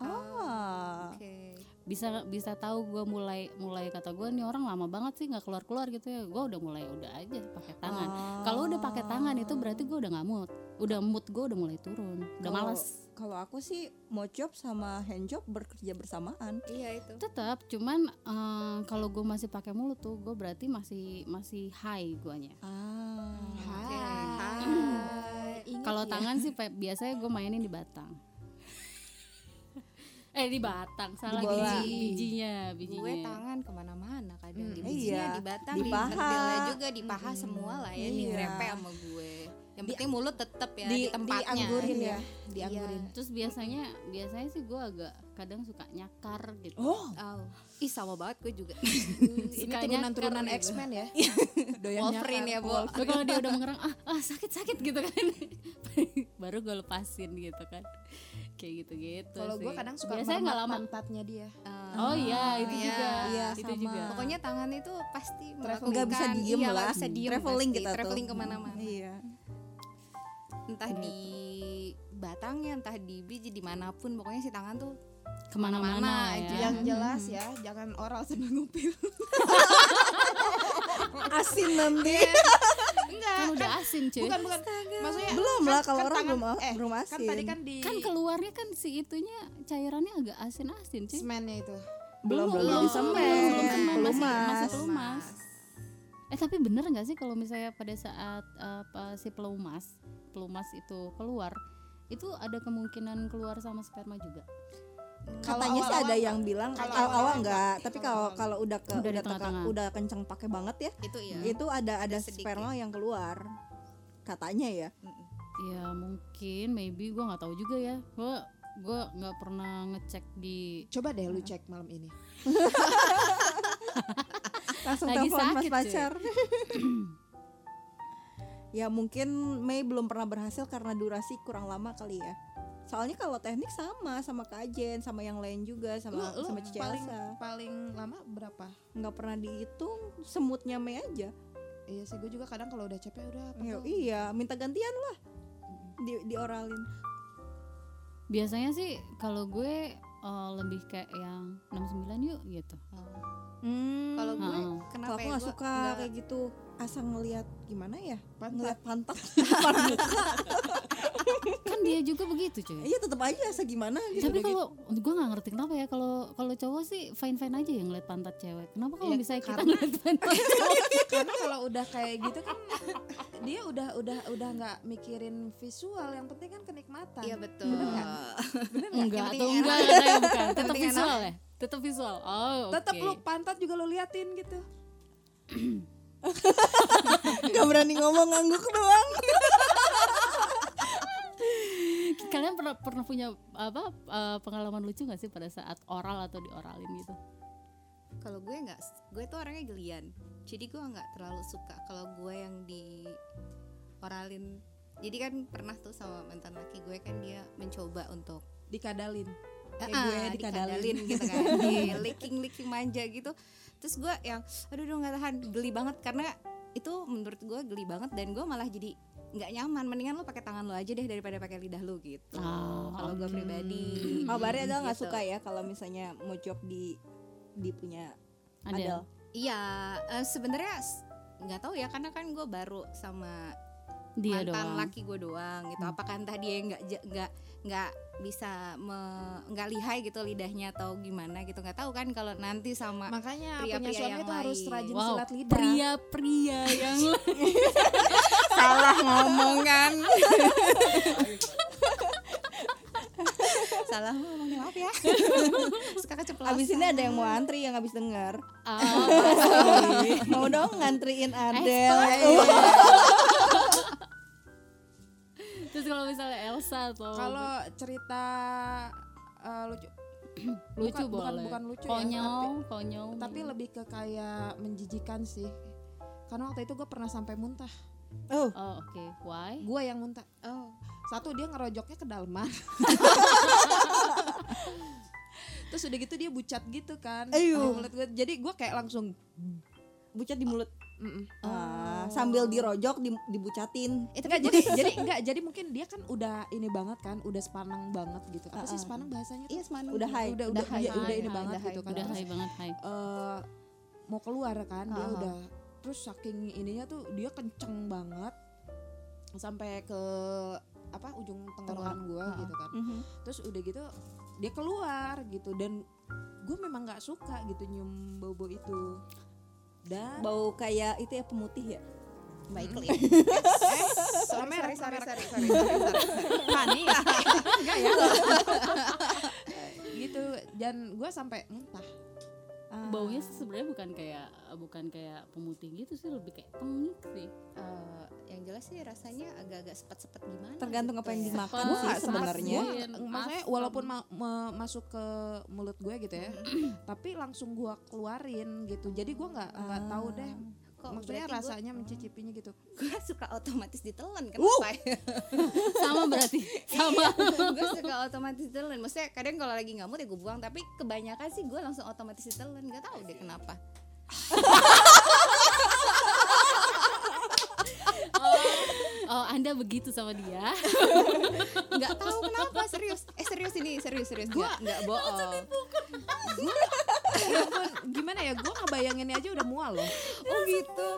Speaker 2: ah
Speaker 1: Oke.
Speaker 3: bisa bisa tahu gue mulai mulai kata gue nih orang lama banget sih nggak keluar keluar gitu ya gue udah mulai udah aja pakai
Speaker 2: Oh.
Speaker 3: tangan kalau udah pakai tangan itu berarti gue udah ngamut udah mood gue udah mulai turun udah
Speaker 2: Kalau-
Speaker 3: malas
Speaker 2: kalau aku sih mau job sama hand job bekerja bersamaan
Speaker 1: Iya itu.
Speaker 3: tetap cuman eh, kalau gue masih pakai mulut tuh gue berarti masih masih high guanya
Speaker 2: ah
Speaker 1: Oke. Hai.
Speaker 3: kalau tangan sih pe- biasanya gue mainin di batang eh di batang salah
Speaker 2: Di bola.
Speaker 3: biji bijinya bijinya
Speaker 1: Gue tangan kemana-mana kadang di
Speaker 2: Hmm,
Speaker 1: bijinya,
Speaker 2: iya.
Speaker 1: di batang,
Speaker 2: Di
Speaker 1: di
Speaker 2: paha.
Speaker 1: pentilnya juga, di paha semua lah ya,
Speaker 2: Iya.
Speaker 1: direpe sama gue. Yang penting mulut tetep ya di,
Speaker 2: di-
Speaker 1: tempatnya.
Speaker 4: dianggurin
Speaker 2: Iya.
Speaker 4: ya dianggurin
Speaker 3: terus biasanya biasanya sih gue agak kadang suka nyakar gitu
Speaker 2: oh
Speaker 1: Oh. Ih sama banget gue juga.
Speaker 4: ini
Speaker 3: Suka
Speaker 4: turunan-turunan
Speaker 3: nyakar gitu. Iya,
Speaker 4: X-Men ya doyannya
Speaker 1: Wolverine ya, Bu.
Speaker 3: Tapi kalau dia udah mengerang ah, ah sakit sakit gitu kan baru gue lepasin gitu kan kayak gitu gitu
Speaker 4: Kalau gue kadang suka
Speaker 3: biasanya nggak lama
Speaker 4: pantatnya dia.
Speaker 3: oh iya itu
Speaker 1: Iya,
Speaker 3: juga
Speaker 2: iya,
Speaker 3: itu
Speaker 2: sama.
Speaker 3: juga
Speaker 1: Pokoknya tangan itu pasti
Speaker 2: traveling nggak bisa
Speaker 1: melakukan-
Speaker 2: diem
Speaker 1: iya, nggak
Speaker 2: lah Hmm.
Speaker 1: bisa diem
Speaker 2: traveling
Speaker 1: pasti.
Speaker 2: kita tuh
Speaker 1: traveling kemana-mana.
Speaker 2: iya
Speaker 1: Entah di batangnya, entah di biji, dimanapun pokoknya si tangan tuh
Speaker 3: kemana-mana
Speaker 1: Mana
Speaker 3: ya.
Speaker 1: aja.
Speaker 4: Yang jelas ya, jangan oral sambil ngupil.
Speaker 2: asin nanti
Speaker 4: Iya,
Speaker 3: kan udah asin cuy
Speaker 4: bukan bukan. Maksudnya
Speaker 2: belum
Speaker 4: kan-
Speaker 2: lah kalau
Speaker 4: kan
Speaker 2: orang
Speaker 4: tangan-
Speaker 2: belum
Speaker 4: eh,
Speaker 2: belum
Speaker 4: kan
Speaker 2: asin
Speaker 4: tadi kan di
Speaker 3: kan keluarnya kan si itunya cairannya agak asin asin cuy
Speaker 4: semennya itu.
Speaker 2: belum belum
Speaker 3: belum,
Speaker 2: belum semen
Speaker 3: belum semen, masih-
Speaker 2: pelumas
Speaker 3: masih pelumas eh tapi bener nggak sih kalau misalnya pada saat eh, apa si pelumas pelumas itu keluar itu ada kemungkinan keluar sama sperma juga
Speaker 4: Kalau
Speaker 2: katanya sih
Speaker 4: awal-awal
Speaker 2: ada yang bilang
Speaker 4: kalau
Speaker 2: awal-awal
Speaker 4: awal-awal Hmm.
Speaker 2: enggak
Speaker 4: enggak.
Speaker 2: tapi
Speaker 4: Kalau
Speaker 2: kalau
Speaker 4: awal-awal.
Speaker 2: kalau udah ke
Speaker 3: Udah di
Speaker 2: udah, teka-
Speaker 3: tengah-tengah.
Speaker 2: udah kenceng pakai banget ya
Speaker 1: itu ya.
Speaker 2: itu ada ada
Speaker 1: sedikit.
Speaker 2: sperma yang keluar katanya ya
Speaker 3: Ya mungkin, maybe gue nggak tahu juga ya. Gue gue nggak pernah ngecek di
Speaker 4: Coba deh Nah. lu cek malam ini.
Speaker 2: langsung
Speaker 3: Lagi
Speaker 2: telepon mas
Speaker 3: sakit, cuy.
Speaker 2: pacar ya mungkin Mei belum pernah berhasil karena durasi kurang lama kali ya soalnya kalau teknik sama sama kajen sama yang lain juga sama
Speaker 4: Lu- lu
Speaker 2: sama Cici
Speaker 4: paling
Speaker 2: Elsa.
Speaker 4: paling lama berapa?
Speaker 2: nggak pernah dihitung semutnya Mei aja
Speaker 4: Iya sih gue juga kadang kalau udah capek udah apa
Speaker 2: Ya,
Speaker 4: tuh?
Speaker 2: iya minta gantian lah di dioralin
Speaker 3: biasanya sih kalau gue eh, lebih kayak yang 69 yuk gitu.
Speaker 4: Hmm.
Speaker 1: Kalau gue
Speaker 3: Heeh.
Speaker 1: kenapa
Speaker 2: Hmm. kalau aku
Speaker 1: ya
Speaker 2: nggak
Speaker 1: gue
Speaker 2: suka
Speaker 1: nggak-
Speaker 2: kayak gitu asal ngelihat gimana ya
Speaker 4: Pantat.
Speaker 2: ngelihat pantat
Speaker 3: kan dia juga begitu cuy
Speaker 2: Iya tetap aja segimana gitu.
Speaker 4: Iya,
Speaker 3: tapi
Speaker 2: udah gitu.
Speaker 3: kalau gue nggak ngerti kenapa ya kalau kalau cowok sih fine fine aja yang ngeliat pantat cewek kenapa kalau
Speaker 4: Ya,
Speaker 3: misalnya kita
Speaker 4: karena-
Speaker 3: ngeliat pantat
Speaker 2: gitu.
Speaker 4: karena kalau udah kayak gitu kan dia udah udah udah nggak mikirin visual yang penting kan
Speaker 2: gitu.
Speaker 4: kenikmatan
Speaker 1: Iya betul.
Speaker 4: Bener nggak? bener nggak
Speaker 3: enggak
Speaker 1: penting
Speaker 3: atau
Speaker 1: enak.
Speaker 3: enggak enggak, ya, bukan tetap
Speaker 1: penting enak.
Speaker 3: visual ya tetap visual oh oke
Speaker 4: kan? tetap lu pantat juga lu liatin gitu
Speaker 2: Gak berani ngomong ngangguk doang.
Speaker 3: kalian pernah pernah punya apa eh, pengalaman lucu nggak sih pada saat oral atau dioralin gitu
Speaker 1: Kalau gue nggak, gue tuh orangnya gelian. Jadi gue nggak terlalu suka kalau gue yang di oralin. Jadi kan pernah tuh sama mantan laki gue kan dia mencoba untuk
Speaker 4: dikadalin
Speaker 1: kayak
Speaker 2: gue
Speaker 1: dikadalin gitu kan di licking licking manja gitu terus gue yang aduh aduh nggak tahan geli banget karena itu menurut gue geli banget dan gue malah jadi nggak nyaman mendingan lo pakai tangan lo aja deh daripada pakai lidah lo gitu
Speaker 4: Oh,
Speaker 3: Ah,
Speaker 1: kalau gue pribadi
Speaker 2: Oh, Kabarnya adalah nggak
Speaker 1: Gitu.
Speaker 2: suka ya kalau misalnya mau job di di punya
Speaker 3: ada ya?
Speaker 2: Adel.
Speaker 1: iya eh, sebenarnya s- nggak tahu ya karena kan gue baru sama
Speaker 3: dia
Speaker 1: mantan
Speaker 3: doang
Speaker 1: laki gue doang gitu
Speaker 2: Hmm.
Speaker 1: apakah entah dia nggak ja- nggak nggak bisa me- nggak lihai gitu lidahnya atau gimana gitu nggak tahu kan kalau nanti sama
Speaker 4: makanya
Speaker 1: Pria-pria
Speaker 4: punya suami
Speaker 1: yang
Speaker 4: itu harus
Speaker 1: lain.
Speaker 4: rajin
Speaker 3: Wow,
Speaker 4: silat lidah
Speaker 3: pria-pria yang
Speaker 1: salah ngomong kan salah ngomong maaf ya suka keceplosan
Speaker 2: Abis ini ada yang mau antri yang abis denger.
Speaker 3: Ah,
Speaker 2: mau dong ngantriin
Speaker 4: iya.
Speaker 2: Adel.
Speaker 3: Estel. Terus kalau misalnya Elsa atau
Speaker 4: kalau cerita eh, lucu
Speaker 3: lucu
Speaker 4: bukan- bukan-
Speaker 3: boleh.
Speaker 4: bukan lucu ya,
Speaker 3: konyol, konyol.
Speaker 4: tapi lebih ke kayak menjijikan sih karena waktu itu gue pernah sampai muntah
Speaker 3: Oh, oke. Why?
Speaker 4: gue yang muntah satu dia ngerojoknya ke dalaman terus udah gitu dia bucat gitu kan
Speaker 2: Ayo.
Speaker 4: Mulut gua- jadi gue kayak langsung
Speaker 2: Bucat di mulut.
Speaker 4: mm-mm.
Speaker 2: Ah, sambil dirojok di- dibucatin.
Speaker 4: itu
Speaker 1: kan
Speaker 4: enggak jadi jadi enggak jadi mungkin dia kan udah ini banget kan udah sepaneng banget gitu apa sih
Speaker 2: Uh-uh.
Speaker 4: sepaneng bahasanya tuh?
Speaker 2: Iya, semangat. Udah high.
Speaker 4: udah udah
Speaker 3: Udah high,
Speaker 4: ya, udah
Speaker 3: high,
Speaker 4: ini
Speaker 3: high,
Speaker 4: banget
Speaker 2: udah
Speaker 4: gitu kan
Speaker 3: Udah
Speaker 4: terus
Speaker 3: high banget high.
Speaker 4: eh, mau keluar kan dia
Speaker 2: Uh-huh.
Speaker 4: udah terus saking ininya tuh dia kenceng banget sampai ke apa ujung tenggorokan gue gitu kan
Speaker 2: Mhm.
Speaker 4: terus udah gitu dia keluar gitu dan gue memang nggak suka gitu nyium bau bau itu dan
Speaker 2: Bau kayak itu ya pemutih ya.
Speaker 1: baik ya.
Speaker 4: sorry, sorry, sorry, gitu dan gue sampai hmm, muntah
Speaker 2: Ah.
Speaker 3: Baunya sih sebenarnya bukan kayak bukan kayak pemutih gitu sih, lebih kayak tengik sih.
Speaker 1: Eh, yang jelas sih rasanya agak-agak sepet-sepet gimana
Speaker 2: tergantung apa yang
Speaker 1: gitu ya.
Speaker 2: dimakan
Speaker 3: Gua
Speaker 2: sih
Speaker 3: nggak
Speaker 2: sebenarnya.
Speaker 3: Iya,
Speaker 4: Nggak, maksudnya
Speaker 3: asam.
Speaker 4: walaupun ma- me- masuk ke mulut gue gitu ya
Speaker 2: Mhm.
Speaker 4: tapi langsung gue keluarin gitu jadi gue nggak nggak tahu deh
Speaker 1: Kok
Speaker 4: maksudnya
Speaker 1: berarti
Speaker 4: rasanya
Speaker 3: Hmm.
Speaker 4: mencicipinya gitu
Speaker 1: gue, gue suka otomatis ditelan kenapa ya?
Speaker 3: Sama berarti. Sama.
Speaker 1: gue suka otomatis ditelan maksudnya kadang kalau lagi ngamuk ya gue buang tapi kebanyakan sih gue langsung otomatis ditelan nggak tahu deh kenapa
Speaker 3: Oh, Anda begitu sama dia.
Speaker 1: nggak tahu kenapa serius eh serius ini serius serius gue nggak bohong
Speaker 4: Ya ampun, gimana ya gue ngebayanginnya aja udah mual loh
Speaker 1: oh gitu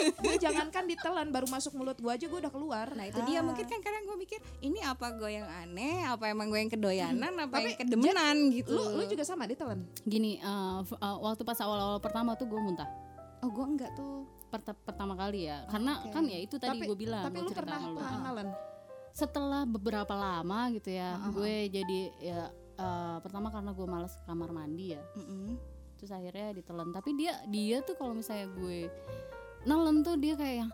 Speaker 4: gue jangankan ditelan baru masuk mulut gue aja gue udah keluar
Speaker 1: Nah itu dia mungkin kan kadang gue mikir ini apa gue yang aneh, apa emang gue yang kedoyanan, apa
Speaker 4: Tapi,
Speaker 1: yang kedemenan gitu.
Speaker 4: lu lu juga sama ditelan
Speaker 3: Gini, eh, f- eh, waktu pas awal-awal pertama tuh gue muntah.
Speaker 1: Oh gue enggak tuh.
Speaker 3: Perta- pertama kali ya. Karena kan ya itu tadi
Speaker 4: Tapi-
Speaker 3: gue bilang,
Speaker 4: tapi
Speaker 3: gua
Speaker 4: lu
Speaker 3: cerita
Speaker 4: pernah
Speaker 3: sama lu.
Speaker 4: pernah
Speaker 3: Ah.
Speaker 4: ngelan
Speaker 3: setelah beberapa lama gitu ya gue jadi ya eh, pertama karena gue males ke kamar mandi ya
Speaker 1: Mm-mm.
Speaker 3: terus akhirnya ditelan tapi dia dia tuh kalau misalnya gue nelen tuh dia kayak yang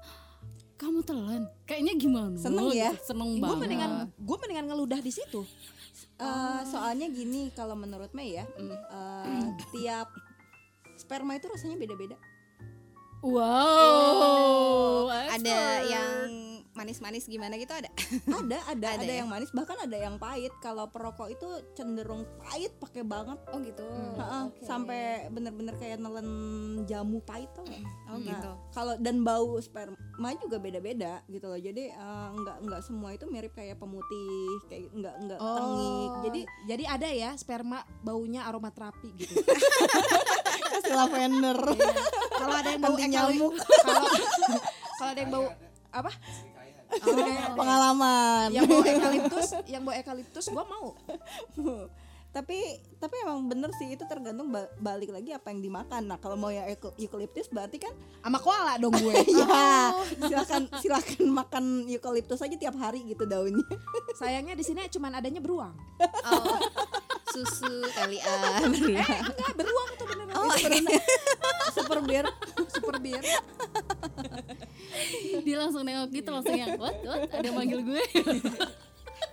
Speaker 3: kamu telan kayaknya gimana
Speaker 2: Seneng ya?
Speaker 3: Gitu, seneng
Speaker 4: gue
Speaker 3: banget
Speaker 4: mendingan gue mendingan ngeludah di situ
Speaker 2: Eh, soalnya gini kalau menurut Mei ya,
Speaker 1: Mm.
Speaker 2: eh, tiap sperma itu rasanya beda-beda.
Speaker 3: wow
Speaker 1: Ada yang manis-manis gimana gitu ada.
Speaker 2: Ada, ada,
Speaker 1: Ada
Speaker 2: ada,
Speaker 1: ya?
Speaker 2: yang manis, bahkan ada yang pahit. Kalau perokok itu cenderung pahit pakai banget,
Speaker 1: Oh gitu.
Speaker 2: Heeh, sampai bener-bener kayak nelen jamu pahit tuh.
Speaker 1: Oh
Speaker 2: Nah.
Speaker 1: gitu.
Speaker 2: Kalau dan bau sperma juga beda-beda gitu loh. Jadi eh, nggak nggak semua itu mirip kayak pemutih, kayak nggak nggak
Speaker 4: Oh.
Speaker 3: Oh.
Speaker 2: tengik. Jadi
Speaker 4: jadi jadi ada ya sperma baunya aromaterapi gitu Iya.
Speaker 2: kasih lavender.
Speaker 4: kalau ada yang
Speaker 2: Bau
Speaker 4: bau eh, kalau-
Speaker 2: nyamuk.
Speaker 4: kalau kalau ada yang bau apa
Speaker 2: pengalaman.
Speaker 7: yang bawa eukaliptus yang bawa eukaliptus gue mau
Speaker 2: tapi tapi emang bener sih itu tergantung ba- balik lagi apa yang dimakan. Nah, kalau mau yang euka- eukaliptus berarti kan
Speaker 4: sama koala dong gue
Speaker 3: Iya.
Speaker 2: ya silakan silakan makan eukaliptus aja tiap hari gitu daunnya.
Speaker 7: sayangnya di sini cuma adanya beruang
Speaker 6: Oh, susu kali ah.
Speaker 1: Eh,
Speaker 7: enggak beruang tuh beneran
Speaker 2: Super biar
Speaker 7: super bir
Speaker 3: dia langsung nengok gitu langsung yang what what ada yang manggil gue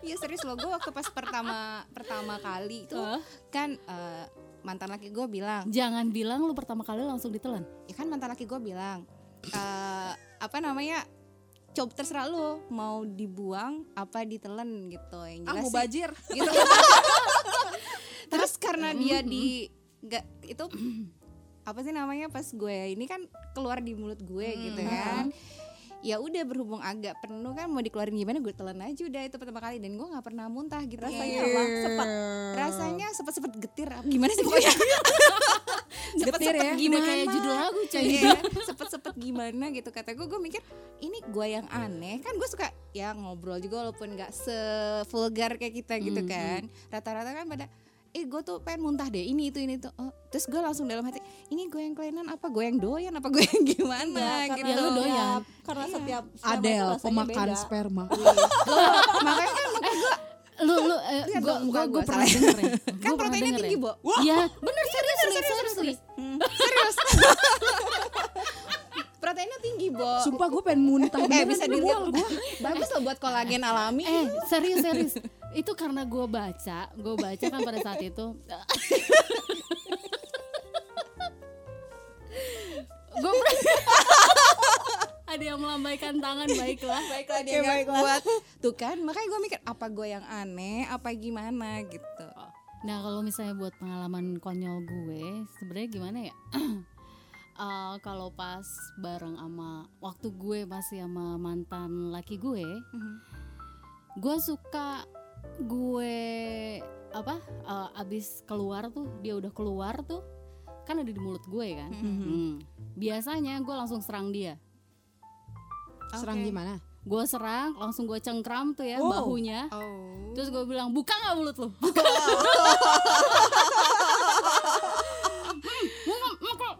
Speaker 1: Iya serius loh, gue waktu pas pertama pertama kali itu
Speaker 3: Hah?
Speaker 1: kan eh, mantan laki gue bilang,
Speaker 3: jangan bilang lu pertama kali langsung ditelan
Speaker 1: ya kan mantan laki gue bilang eh, apa namanya coba terserah lo mau dibuang apa ditelan gitu yang
Speaker 7: ah
Speaker 1: jelas
Speaker 7: mau
Speaker 1: sih-
Speaker 7: bajir
Speaker 1: gitu. Terus karena dia di nggak itu apa sih namanya pas gue ini kan keluar di mulut gue gitu kan. Ya udah berhubung agak penuh kan mau dikeluarin gimana gue telan aja udah itu pertama kali dan gue nggak pernah muntah gitu
Speaker 2: rasanya
Speaker 1: Kayak
Speaker 2: apa? Sepet.
Speaker 1: rasanya sepet-sepet getir apa gimana sih pokoknya sepet-sepet
Speaker 3: Udah
Speaker 1: gimana
Speaker 3: kayak judul lagu cuy
Speaker 1: Iya, sepet-sepet gimana gitu kata gue gue mikir ini gue yang
Speaker 3: Iya.
Speaker 1: aneh kan gue suka ya ngobrol juga walaupun nggak sevulgar kayak kita gitu
Speaker 3: Mm,
Speaker 1: kan rata-rata kan pada eh gue tuh pengen muntah deh ini itu ini itu oh, terus gue langsung dalam hati ini gue yang kelainan apa gue yang doyan apa gue yang gimana
Speaker 2: Iya,
Speaker 1: gitu
Speaker 3: ya lu doyan
Speaker 2: Karena setiap setiap
Speaker 4: Adel
Speaker 2: rasanya
Speaker 4: pemakan
Speaker 2: beda.
Speaker 4: sperma
Speaker 1: makanya
Speaker 3: Eh,
Speaker 1: kan
Speaker 3: lu lu eh,
Speaker 1: Lihat
Speaker 3: gua
Speaker 1: dong muka
Speaker 3: gua gua
Speaker 1: gua,
Speaker 3: pernah
Speaker 1: salah.
Speaker 3: denger ya
Speaker 1: kan
Speaker 3: Gua pernah
Speaker 1: proteinnya
Speaker 3: denger
Speaker 1: tinggi
Speaker 3: ya.
Speaker 1: bo
Speaker 3: Iya, bener
Speaker 1: kan
Speaker 3: serius nih, serius nih.
Speaker 1: Hmm. proteinnya tinggi bo
Speaker 4: sumpah gue pengen muntah
Speaker 1: eh bisa dilihat bagus loh buat kolagen alami
Speaker 3: Eh, serius serius. Itu karena gua baca, gua baca kan pada saat itu. gua pernah- ada yang melambaikan tangan baiklah.
Speaker 1: baiklah dia nggak kuat tuh kan makanya gue mikir apa gue yang aneh apa gimana gitu
Speaker 3: Nah kalau misalnya buat pengalaman konyol gue, sebenarnya gimana ya? Eh, kalau pas bareng sama waktu gue masih sama mantan laki gue, gue suka gue apa? eh, abis keluar tuh dia udah keluar tuh kan ada di mulut gue kan. Hmm. Biasanya gue langsung serang dia.
Speaker 4: serang gimana
Speaker 3: Gue serang, langsung gue cengkram tuh ya bahunya.
Speaker 1: oh
Speaker 3: Terus gue bilang buka nggak mulut lo?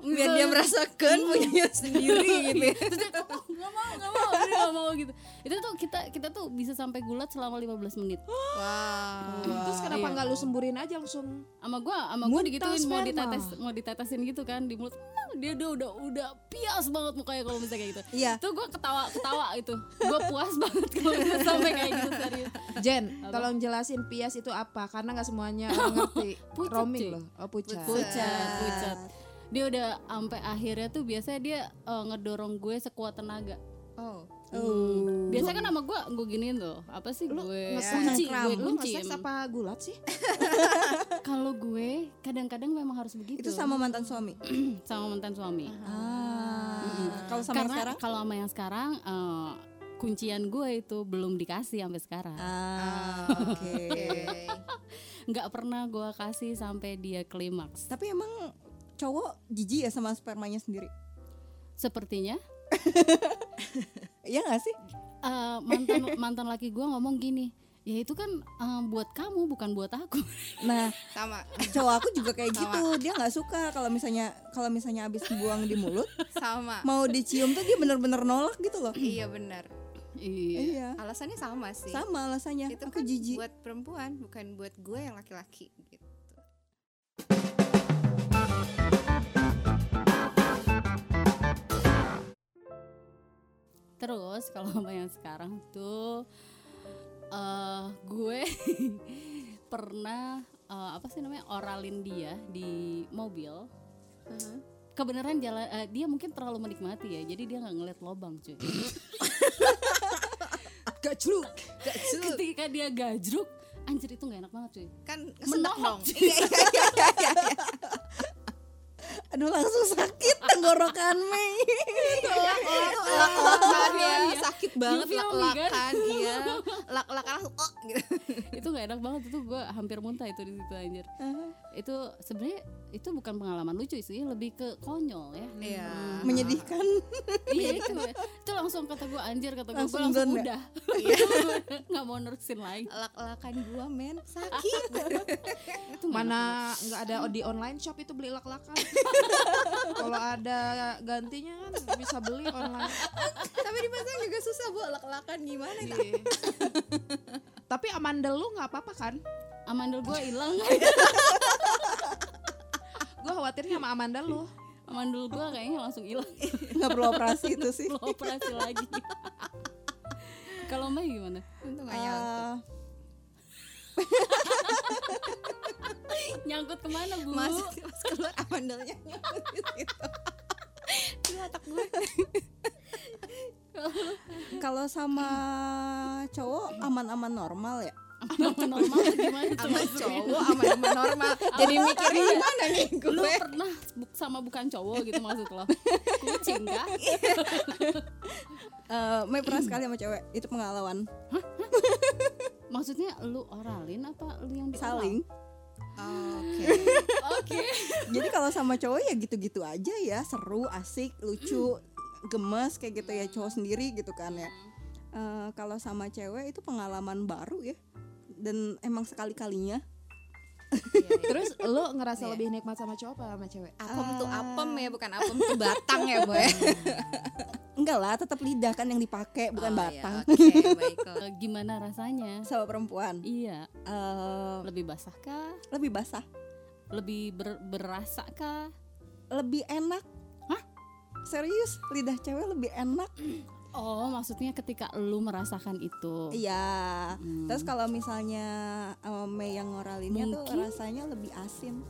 Speaker 3: Hmm,
Speaker 1: biar dia merasakan punya sendiri gitu ya.
Speaker 3: Terus dia, "Oh, nggak mau nggak mau dia nggak mau gitu itu tuh kita kita tuh bisa sampai gulat selama 15 menit
Speaker 7: terus kenapa
Speaker 3: Iya.
Speaker 7: nggak lu semburin aja langsung
Speaker 3: sama gua sama gua
Speaker 7: Muntah
Speaker 3: digituin mau
Speaker 7: sperma.
Speaker 3: ditetes mau ditetesin gitu kan di mulut dia udah udah udah pias banget mukanya kalau misalnya kayak gitu
Speaker 2: Iya.
Speaker 3: tuh gua ketawa ketawa itu gua puas banget kalau gua sampai kayak gitu serius
Speaker 4: Jen
Speaker 3: Apa?
Speaker 4: tolong jelasin pias itu apa karena nggak semuanya orang ngerti
Speaker 3: Pucat,
Speaker 4: roaming
Speaker 3: cuy.
Speaker 4: loh oh pucat
Speaker 3: pucat pucat dia udah sampai akhirnya tuh biasanya dia eh, ngedorong gue sekuat tenaga
Speaker 1: oh
Speaker 3: Hmm. Biasanya kan sama gue gue giniin tuh apa sih gue kunci gue
Speaker 4: Eh, lu
Speaker 3: kunci
Speaker 4: ngeseks apa gulat sih
Speaker 3: kalau gue kadang-kadang memang harus begitu
Speaker 2: Itu sama mantan suami.
Speaker 3: sama mantan suami
Speaker 2: Ah. Kalau sama yang
Speaker 3: karena
Speaker 2: sekarang?
Speaker 3: kalau sama yang sekarang eh, kuncian gue itu belum dikasih sampai sekarang
Speaker 2: Ah, oke.
Speaker 3: nggak pernah gue kasih sampai dia klimaks
Speaker 2: Tapi emang cowok jijik ya sama spermanya sendiri?
Speaker 3: sepertinya
Speaker 2: Iya gak sih?
Speaker 3: eh, mantan mantan laki gue ngomong gini ya itu kan eh, buat kamu bukan buat aku
Speaker 2: Nah,
Speaker 1: sama
Speaker 2: cowok aku juga kayak gitu. Dia nggak suka kalau misalnya kalau misalnya habis buang di mulut,
Speaker 1: sama
Speaker 2: mau dicium tuh dia bener-bener nolak gitu loh.
Speaker 1: iya benar
Speaker 3: iya
Speaker 2: Iya.
Speaker 1: alasannya sama sih
Speaker 2: Sama alasannya.
Speaker 1: itu kan
Speaker 2: aku jijik.
Speaker 1: buat perempuan bukan buat gue yang laki-laki gitu
Speaker 3: terus kalau sama yang sekarang tuh eh gue pernah eh, apa sih namanya oralin dia di mobil kebenaran jalan eh, dia mungkin terlalu menikmati ya jadi dia nggak ngeliat lobang cuy
Speaker 4: gajluk
Speaker 3: ketika dia gajruk anjir itu nggak enak banget cuy
Speaker 1: kan
Speaker 3: Menohok,
Speaker 1: seneng dong
Speaker 3: cuy.
Speaker 1: iya iya iya, iya, iya.
Speaker 2: aduh langsung sakit tenggorokan Mei
Speaker 1: Oh, lak-lakan ya sakit banget
Speaker 3: feel me, kan?
Speaker 1: lak-lakan iya lak-lakan langsung, oh gitu
Speaker 3: itu nggak enak banget itu gue hampir muntah itu di situ anjir itu sebenarnya itu bukan pengalaman lucu sih lebih ke konyol ya
Speaker 1: Iya.
Speaker 2: menyedihkan
Speaker 3: iya itu ya. itu langsung kata gue anjir kata gue langsung,
Speaker 2: Langsung
Speaker 3: langsung
Speaker 2: down
Speaker 3: udah nggak mau nerusin lagi
Speaker 1: lak-lakan gua men sakit
Speaker 3: itu nggak
Speaker 4: Mana nggak ada di online shop itu beli lak-lakan. Kalau ada gantinya kan bisa beli online.
Speaker 1: tapi di pasar juga susah bu lak-lakan gitu. gimana itu
Speaker 4: Tapi amandel lu nggak apa-apa kan?
Speaker 3: enak. amandel gue hilang
Speaker 4: Gue khawatirnya sama amandel lu.
Speaker 3: amandel gue kayaknya langsung hilang
Speaker 2: nggak perlu operasi itu sih
Speaker 3: lo operasi lagi kalau Mbak gimana
Speaker 1: untung gak nyangkut
Speaker 2: Ah,
Speaker 3: nyangkut kemana bu
Speaker 1: mas mas keluar amandelnya nyangkut di situ.
Speaker 2: kalau sama cowok aman-aman normal ya
Speaker 3: Aman normal tuh gimana tuh
Speaker 1: sama
Speaker 3: maksudnya?
Speaker 1: cowok sama sama normal jadi mikirnya gimana nih
Speaker 3: lu
Speaker 1: gue
Speaker 3: pernah bu- sama bukan cowok gitu maksud lo kucing kah
Speaker 2: Eh, Mei pernah sekali sama cewek itu pengalaman
Speaker 3: maksudnya lu oralin apa lu yang dioral?
Speaker 2: saling
Speaker 1: oke
Speaker 3: oke
Speaker 2: Jadi kalau sama cowok ya gitu-gitu aja ya, seru, asik, lucu, gemes kayak gitu ya cowok sendiri gitu kan ya. Eh, kalau sama cewek itu pengalaman baru ya, dan emang sekali kalinya.
Speaker 1: iya.
Speaker 4: Terus lu ngerasa lebih nikmat sama cowok apa sama cewek?
Speaker 1: apem tuh apem ya bukan apem tuh batang ya bu ya
Speaker 2: Enggak lah, tetap lidah kan yang dipakai
Speaker 1: Oh,
Speaker 2: bukan
Speaker 1: iya,
Speaker 2: batang.
Speaker 1: oke baiklah
Speaker 3: Eh, gimana rasanya
Speaker 2: Sama perempuan
Speaker 3: iya
Speaker 2: eh,
Speaker 3: lebih basah kah
Speaker 2: lebih basah,
Speaker 3: lebih ber- berasa kah
Speaker 2: lebih enak.
Speaker 3: Hah?
Speaker 2: Serius, lidah cewek lebih enak.
Speaker 3: oh maksudnya ketika lu merasakan itu
Speaker 2: Iya.
Speaker 3: Hmm.
Speaker 2: Terus kalau misalnya eh, Mei yang ngoralinnya tuh
Speaker 3: Mungkin.
Speaker 2: rasanya lebih asin.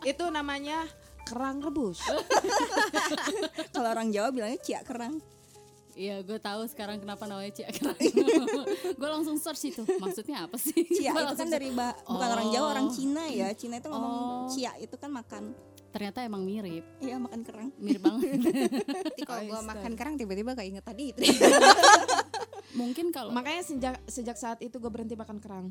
Speaker 4: Itu namanya kerang rebus.
Speaker 2: kalau orang Jawa bilangnya cia kerang.
Speaker 3: Iya, gue tahu sekarang kenapa namanya Cia Kerang. gue langsung search itu. Maksudnya apa sih?
Speaker 2: Cia Iya. itu
Speaker 3: Gua
Speaker 2: kan
Speaker 3: langsung
Speaker 2: dari bah- bukan orang Jawa, orang Cina ya. Cina itu ngomong
Speaker 3: Oh.
Speaker 2: Cia itu kan makan.
Speaker 3: search. ternyata emang mirip,
Speaker 2: Iya, makan kerang.
Speaker 3: mirip banget.
Speaker 1: nanti kalau gue makan kerang tiba-tiba kayak inget tadi itu
Speaker 3: Mungkin kalau
Speaker 4: Makanya sejak sejak saat itu gue berhenti makan kerang.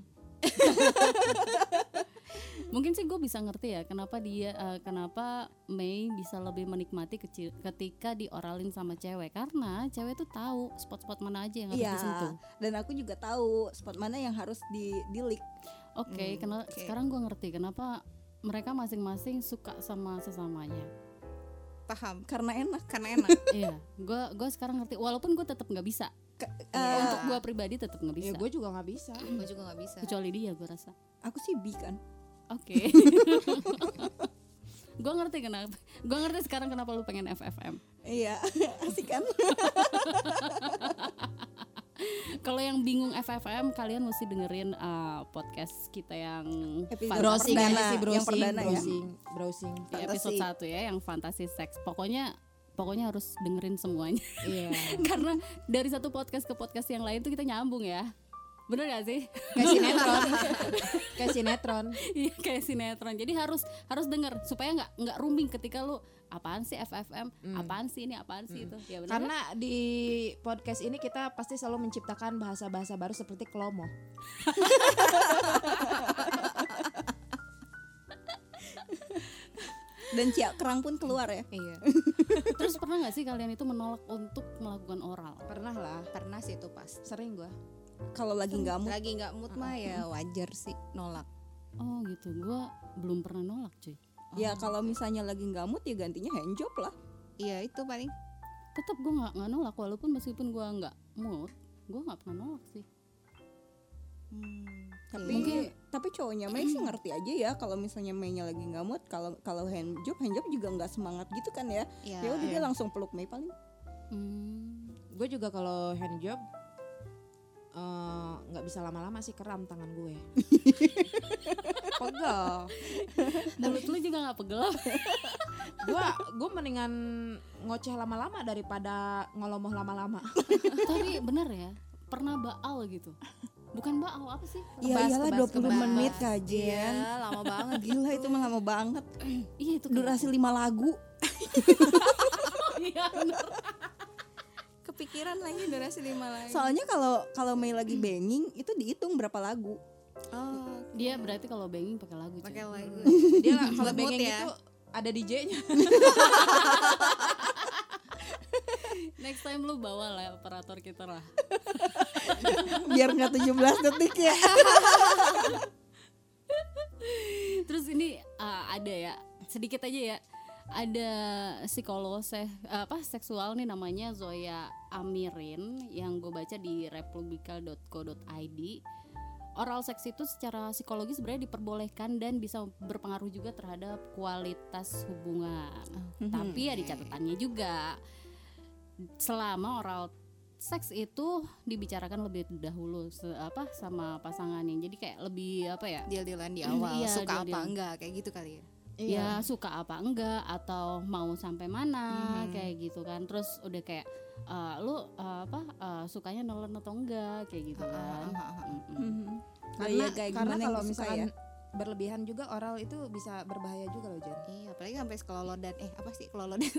Speaker 3: mungkin sih gue bisa ngerti ya kenapa dia eh, kenapa Mei bisa lebih menikmati kecil ketika dioralin sama cewek karena cewek tuh tahu spot-spot mana aja yang harus
Speaker 2: Iya.
Speaker 3: disentuh.
Speaker 2: Dan aku juga tahu spot mana yang harus di dilik.
Speaker 3: Oke,
Speaker 2: Hmm,
Speaker 3: kena- sekarang gue ngerti kenapa mereka masing-masing suka sama sesamanya.
Speaker 1: paham
Speaker 2: karena enak.
Speaker 1: karena enak
Speaker 3: Iya, gue gue sekarang ngerti walaupun gue tetap nggak bisa.
Speaker 2: Ke-
Speaker 3: Untuk gue pribadi tetap nggak
Speaker 4: Ya
Speaker 3: bisa.
Speaker 4: gue juga nggak bisa.
Speaker 1: gue juga nggak bisa
Speaker 3: Kecuali dia gue rasa.
Speaker 2: Aku sih bi kan.
Speaker 3: Oke. gue ngerti kenapa. Gue ngerti sekarang kenapa lu pengen FFM.
Speaker 2: Iya, asik kan?
Speaker 3: Kalau yang bingung FFM, kalian mesti dengerin uh, podcast kita yang
Speaker 2: Episode Browsing
Speaker 3: fantasi-
Speaker 4: ya,
Speaker 2: perdana,
Speaker 4: sih,
Speaker 2: yang
Speaker 4: browsing,
Speaker 2: perdana ya. Iya.
Speaker 4: browsing, browsing.
Speaker 3: di episode
Speaker 2: fantasi.
Speaker 3: 1 ya, yang fantasi seks. Pokoknya pokoknya harus dengerin semuanya
Speaker 4: Iya.
Speaker 3: karena dari satu podcast ke podcast yang lain tuh kita nyambung ya. Bener gak sih?
Speaker 4: Kayak sinetron. Kayak sinetron.
Speaker 3: Iya kayak sinetron. Jadi harus harus denger supaya nggak nggak ruming ketika lu apaan sih FFM,
Speaker 2: Hmm.
Speaker 3: apaan sih ini, apaan sih itu. Ya bener
Speaker 4: Karena di podcast ini kita pasti selalu menciptakan bahasa-bahasa baru seperti klomo.
Speaker 2: Dan Cia kerang pun keluar ya.
Speaker 1: iya
Speaker 3: kan? Terus pernah nggak sih kalian itu menolak untuk melakukan oral?
Speaker 4: Pernah lah,
Speaker 1: pernah sih itu pasti
Speaker 4: sering gua.
Speaker 2: Kalau lagi nggak mood
Speaker 1: lagi nggak mood mah ya wajar sih nolak
Speaker 3: Oh gitu, gue belum pernah nolak cuy Oh.
Speaker 2: ya kalau misalnya lagi nggak mood ya gantinya hand job lah.
Speaker 1: iya itu paling
Speaker 3: Tetap gue gak, nggak nolak, walaupun meskipun gue gak mood Gue gak pernah nolak sih
Speaker 2: Tapi
Speaker 3: Mungkin-
Speaker 2: tapi cowoknya Mei sih ngerti aja ya kalau misalnya Mei-nya lagi nggak mood, kalau kalau hand job, hand job juga nggak semangat gitu kan ya.
Speaker 1: ya,
Speaker 2: Ya udah dia langsung peluk Mei paling.
Speaker 3: hmm.
Speaker 4: Gue juga kalau hand job eh, nggak bisa lama-lama sih keram tangan gue. Pegel.
Speaker 3: Mulut lu juga gak pegel
Speaker 4: Gue gue mendingan ngoceh lama-lama daripada ngolomoh lama-lama.
Speaker 3: Tapi bener ya, pernah baal gitu bukan bakau apa sih
Speaker 2: Iya
Speaker 1: Kebas,
Speaker 2: iyalah
Speaker 1: kebas,
Speaker 2: 20 menit
Speaker 1: kebas.
Speaker 2: kajian.
Speaker 1: Iya, lama banget
Speaker 2: Gila itu mah lama banget.
Speaker 3: iya itu
Speaker 2: Durasi 5 lagu.
Speaker 3: iya bener.
Speaker 1: kepikiran lagi durasi lima lagi
Speaker 2: Soalnya kalau kalau Mei lagi banging itu dihitung berapa lagu.
Speaker 1: oh
Speaker 3: dia berarti kalau banging pakai lagu cuy.
Speaker 1: pakai lagu
Speaker 7: Dia nggak- kalau
Speaker 1: Lembut
Speaker 7: bengeng
Speaker 1: ya.
Speaker 7: itu ada DJ-nya.
Speaker 4: Iya,
Speaker 3: next time lu bawa lah operator kita lah
Speaker 2: Biar nggak 17 detik ya.
Speaker 3: Terus ini uh, ada ya sedikit aja ya ada psikolog se- apa seksual nih namanya Zoya Amirin yang gue baca di republika.co.id oral seks itu secara psikologi sebenarnya diperbolehkan dan bisa berpengaruh juga terhadap kualitas hubungan tapi ada catatannya juga selama oral seks itu dibicarakan lebih dahulu se- apa sama pasangannya jadi kayak lebih apa ya
Speaker 1: deal-dealan di awal
Speaker 3: Iya,
Speaker 1: suka apa
Speaker 3: deal-dealan.
Speaker 1: enggak kayak gitu kali ya
Speaker 3: ya suka apa enggak atau mau sampai mana kayak gitu kan terus udah kayak eh, lu eh, apa eh, sukanya nelen atau enggak kayak gitu kan Mm-mm.
Speaker 2: Hmm. Karena,
Speaker 4: karena kalau misalkan berlebihan juga oral itu bisa berbahaya juga loh Jen.
Speaker 1: iya apalagi sampai kelolodan eh apa sih kelolodan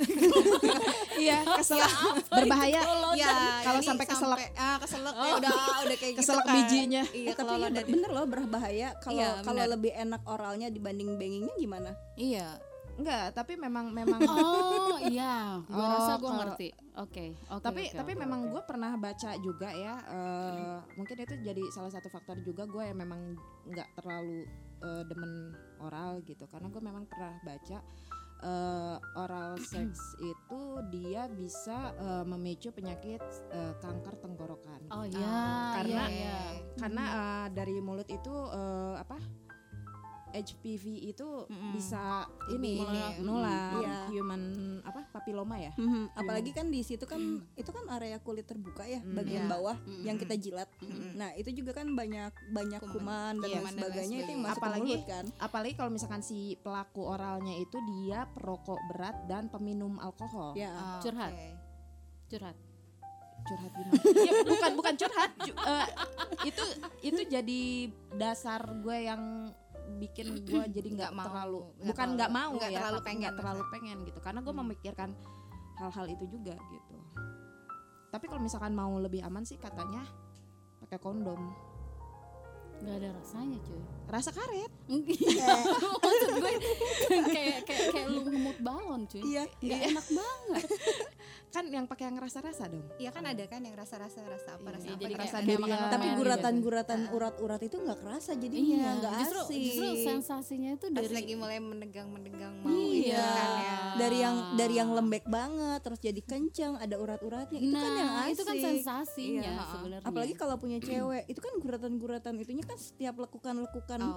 Speaker 4: Iya, keselak berbahaya. iya,
Speaker 1: ya
Speaker 4: Kalau
Speaker 1: ini
Speaker 4: sampai keselak.
Speaker 1: ah keselak ya udah udah kayak
Speaker 4: Keselak
Speaker 1: gitu kan.
Speaker 4: bijinya.
Speaker 1: iya
Speaker 2: tapi iya
Speaker 1: kelolodan
Speaker 2: ber- bener loh berbahaya kalau
Speaker 1: Iya,
Speaker 2: kalau
Speaker 1: bener.
Speaker 2: lebih enak oralnya dibanding bangingnya gimana?
Speaker 1: iya
Speaker 4: Enggak, tapi memang memang
Speaker 3: oh iya gua
Speaker 4: Oh,
Speaker 3: rasa gua
Speaker 4: kalau-
Speaker 3: ngerti oke oke,
Speaker 4: tapi
Speaker 3: oke,
Speaker 4: tapi
Speaker 3: oke,
Speaker 4: memang
Speaker 3: oke. Hmm.
Speaker 4: gue pernah baca juga ya eh, mungkin itu jadi salah satu faktor juga gue yang memang nggak terlalu eh, demen oral gitu karena gue memang pernah baca eh, oral seks itu dia bisa eh, memicu penyakit eh, kanker tenggorokan
Speaker 3: oh iya
Speaker 4: karena-
Speaker 3: iya, iya.
Speaker 4: karena eh, dari mulut itu eh, apa HPV itu
Speaker 1: Mm-mm.
Speaker 4: bisa ini
Speaker 1: Lebih ini ya.
Speaker 4: nular
Speaker 2: Iya.
Speaker 4: human apa papiloma ya
Speaker 2: Mhm, Apalagi kan di situ kan itu kan area kulit terbuka ya
Speaker 4: Hmm,
Speaker 1: iya.
Speaker 2: bagian bawah
Speaker 3: Mm-mm.
Speaker 2: yang kita jilat.
Speaker 1: Mm-mm.
Speaker 2: Nah itu juga kan banyak banyak kuman,
Speaker 1: Kuman. Iya, kuman
Speaker 2: dan lain
Speaker 1: dan lain
Speaker 2: sebagainya itu yang
Speaker 1: sebagainya.
Speaker 2: masuk ke
Speaker 4: Apalagi-
Speaker 2: mulut kan.
Speaker 4: apalagi kalau misalkan si pelaku oralnya itu dia perokok berat dan peminum alkohol
Speaker 2: Ya.
Speaker 1: Ah,
Speaker 3: Curhat.
Speaker 1: oke.
Speaker 3: curhat
Speaker 4: curhat gimana? Ya, bukan bukan curhat ju- eh, itu itu jadi dasar gue yang bikin gue jadi nggak
Speaker 1: Nggak mau.
Speaker 4: terlalu
Speaker 1: Nggak
Speaker 4: bukan nggak mau
Speaker 1: terlalu- nggak
Speaker 4: ya
Speaker 1: terlalu
Speaker 4: tapi
Speaker 1: pengen
Speaker 4: nggak terlalu pengen gitu karena gue memikirkan hal-hal itu juga gitu tapi kalau misalkan mau lebih aman sih katanya pakai kondom
Speaker 3: nggak ada rasanya cuy
Speaker 4: rasa karet
Speaker 3: maksud gue kayak kayak kayak lu ngemut balon cuy
Speaker 2: Iya,
Speaker 3: Nggak enak banget
Speaker 4: kan yang pakai yang rasa-rasa dong
Speaker 1: Iya kan ada kan yang rasa-rasa rasa apa
Speaker 3: Iya,
Speaker 1: rasa
Speaker 3: iya,
Speaker 1: apa
Speaker 3: jadi
Speaker 1: kayak
Speaker 3: rasa
Speaker 1: ada
Speaker 4: durian.
Speaker 1: makanan-
Speaker 2: tapi
Speaker 3: Lumayan
Speaker 2: guratan-guratan urat-urat itu nggak kerasa jadinya Iya, nggak
Speaker 3: Iya, justru,
Speaker 2: asik.
Speaker 3: justru sensasinya itu
Speaker 1: Pas
Speaker 3: dari
Speaker 1: lagi mulai menegang-menegang mau itu
Speaker 3: Iya.
Speaker 1: kan ya.
Speaker 2: dari yang dari yang lembek banget terus jadi kencang ada urat-uratnya itu kan yang
Speaker 3: Nah,
Speaker 2: asik
Speaker 3: itu kan sensasinya
Speaker 1: Iya, ha-ha.
Speaker 3: sebenarnya.
Speaker 2: apalagi kalau punya cewek itu kan guratan-guratan itunya kan setiap lekukan-lekukan
Speaker 1: Oh,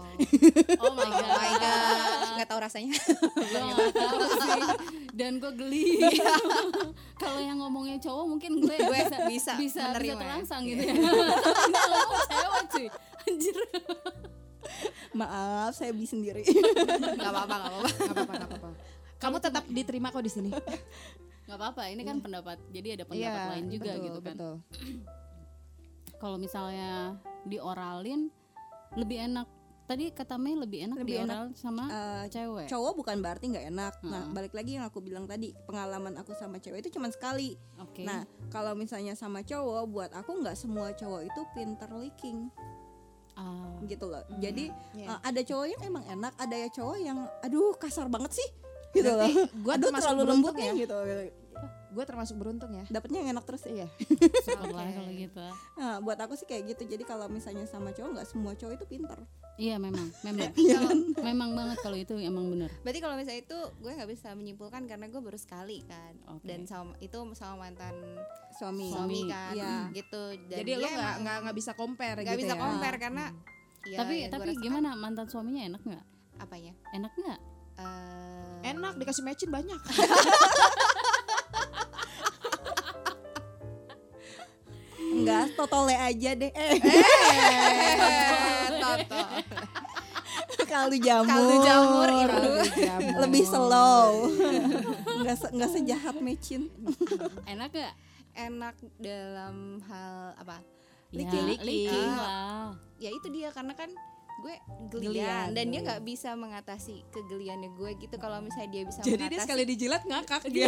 Speaker 3: oh my god,
Speaker 1: my god, nggak tahu rasanya.
Speaker 3: Gua nggak tahu sih. dan gue geli. kalau yang ngomongnya cowok mungkin
Speaker 1: Gue
Speaker 3: gue bisa
Speaker 1: bisa
Speaker 3: bisa, bisa
Speaker 1: menerima.
Speaker 3: terangsang gitu ya. Ini ngomong cewek cuy. Anjir.
Speaker 2: maaf saya bi sendiri
Speaker 1: Gak apa-apa, gak apa-apa.
Speaker 4: nggak apa-apa nggak apa-apa kamu tetap diterima kok di sini
Speaker 3: Gak apa-apa, ini kan pendapat. Jadi ada pendapat
Speaker 4: Iya,
Speaker 3: lain juga
Speaker 4: betul,
Speaker 3: gitu kan.
Speaker 4: betul.
Speaker 3: Kalau misalnya dioralin lebih enak. Tadi kata Mei lebih enak
Speaker 2: Lebih
Speaker 3: dioral sama
Speaker 2: Eh,
Speaker 3: cewek.
Speaker 2: cowok bukan berarti nggak enak nah
Speaker 3: Mm-mm.
Speaker 2: balik lagi yang aku bilang tadi pengalaman aku sama cewek itu cuma sekali
Speaker 3: Oke.
Speaker 2: nah kalau misalnya sama cowok buat aku nggak semua cowok itu pinter licking
Speaker 3: Ah,
Speaker 2: gitu loh jadi eh,
Speaker 4: Iya.
Speaker 2: ada cowok yang emang enak ada ya cowok yang aduh kasar banget sih gitu
Speaker 4: Berarti
Speaker 2: loh
Speaker 4: gua
Speaker 2: aduh
Speaker 4: termasuk
Speaker 2: terlalu
Speaker 4: beruntung
Speaker 2: lembut
Speaker 4: ya.
Speaker 2: nih gitu
Speaker 4: Gue termasuk beruntung ya.
Speaker 2: dapatnya yang enak terus ya
Speaker 4: Iya.
Speaker 3: syukurlah kalau gitu.
Speaker 2: Nah, buat aku sih kayak gitu. Jadi kalau misalnya sama cowok nggak semua cowok itu pinter.
Speaker 3: Iya memang, memang. memang banget kalau itu emang bener.
Speaker 1: Berarti kalau misalnya itu gue nggak bisa menyimpulkan karena gue baru sekali kan.
Speaker 3: Oke.
Speaker 1: Dan sama itu sama mantan
Speaker 2: Suami.
Speaker 1: suami kan,
Speaker 2: Iya.
Speaker 1: gitu. Dan
Speaker 4: Jadi
Speaker 1: dia
Speaker 4: lo nggak
Speaker 1: emang
Speaker 4: nggak nggak bisa compare
Speaker 1: nggak
Speaker 4: gitu
Speaker 1: bisa
Speaker 4: ya.
Speaker 1: compare karena. ya,
Speaker 3: Hmm. tapi
Speaker 1: yang gue
Speaker 3: tapi
Speaker 1: rasakan
Speaker 3: gimana mantan suaminya enak nggak?
Speaker 1: Apanya?
Speaker 3: Enak nggak?
Speaker 1: Eh,
Speaker 4: Enak dikasih matchin banyak.
Speaker 2: Enggak, totole aja deh. Eh,
Speaker 1: Eh, Toto.
Speaker 2: kaldu jamur.
Speaker 1: Kaldu jamur, iya.
Speaker 2: Lebih slow. Enggak se nggak sejahat mecin.
Speaker 3: Enak nggak?
Speaker 1: Enak dalam hal apa?
Speaker 3: Licking,
Speaker 1: Licking.
Speaker 3: licking
Speaker 1: Ah.
Speaker 3: Ya, lah.
Speaker 1: ya itu dia karena kan gue
Speaker 4: Gelian.
Speaker 1: gelian dan dia nggak bisa mengatasi kegeliannya gue gitu kalau misalnya dia bisa
Speaker 4: Jadi dia
Speaker 1: mengatasi
Speaker 4: sekali dijilat ngakak dia.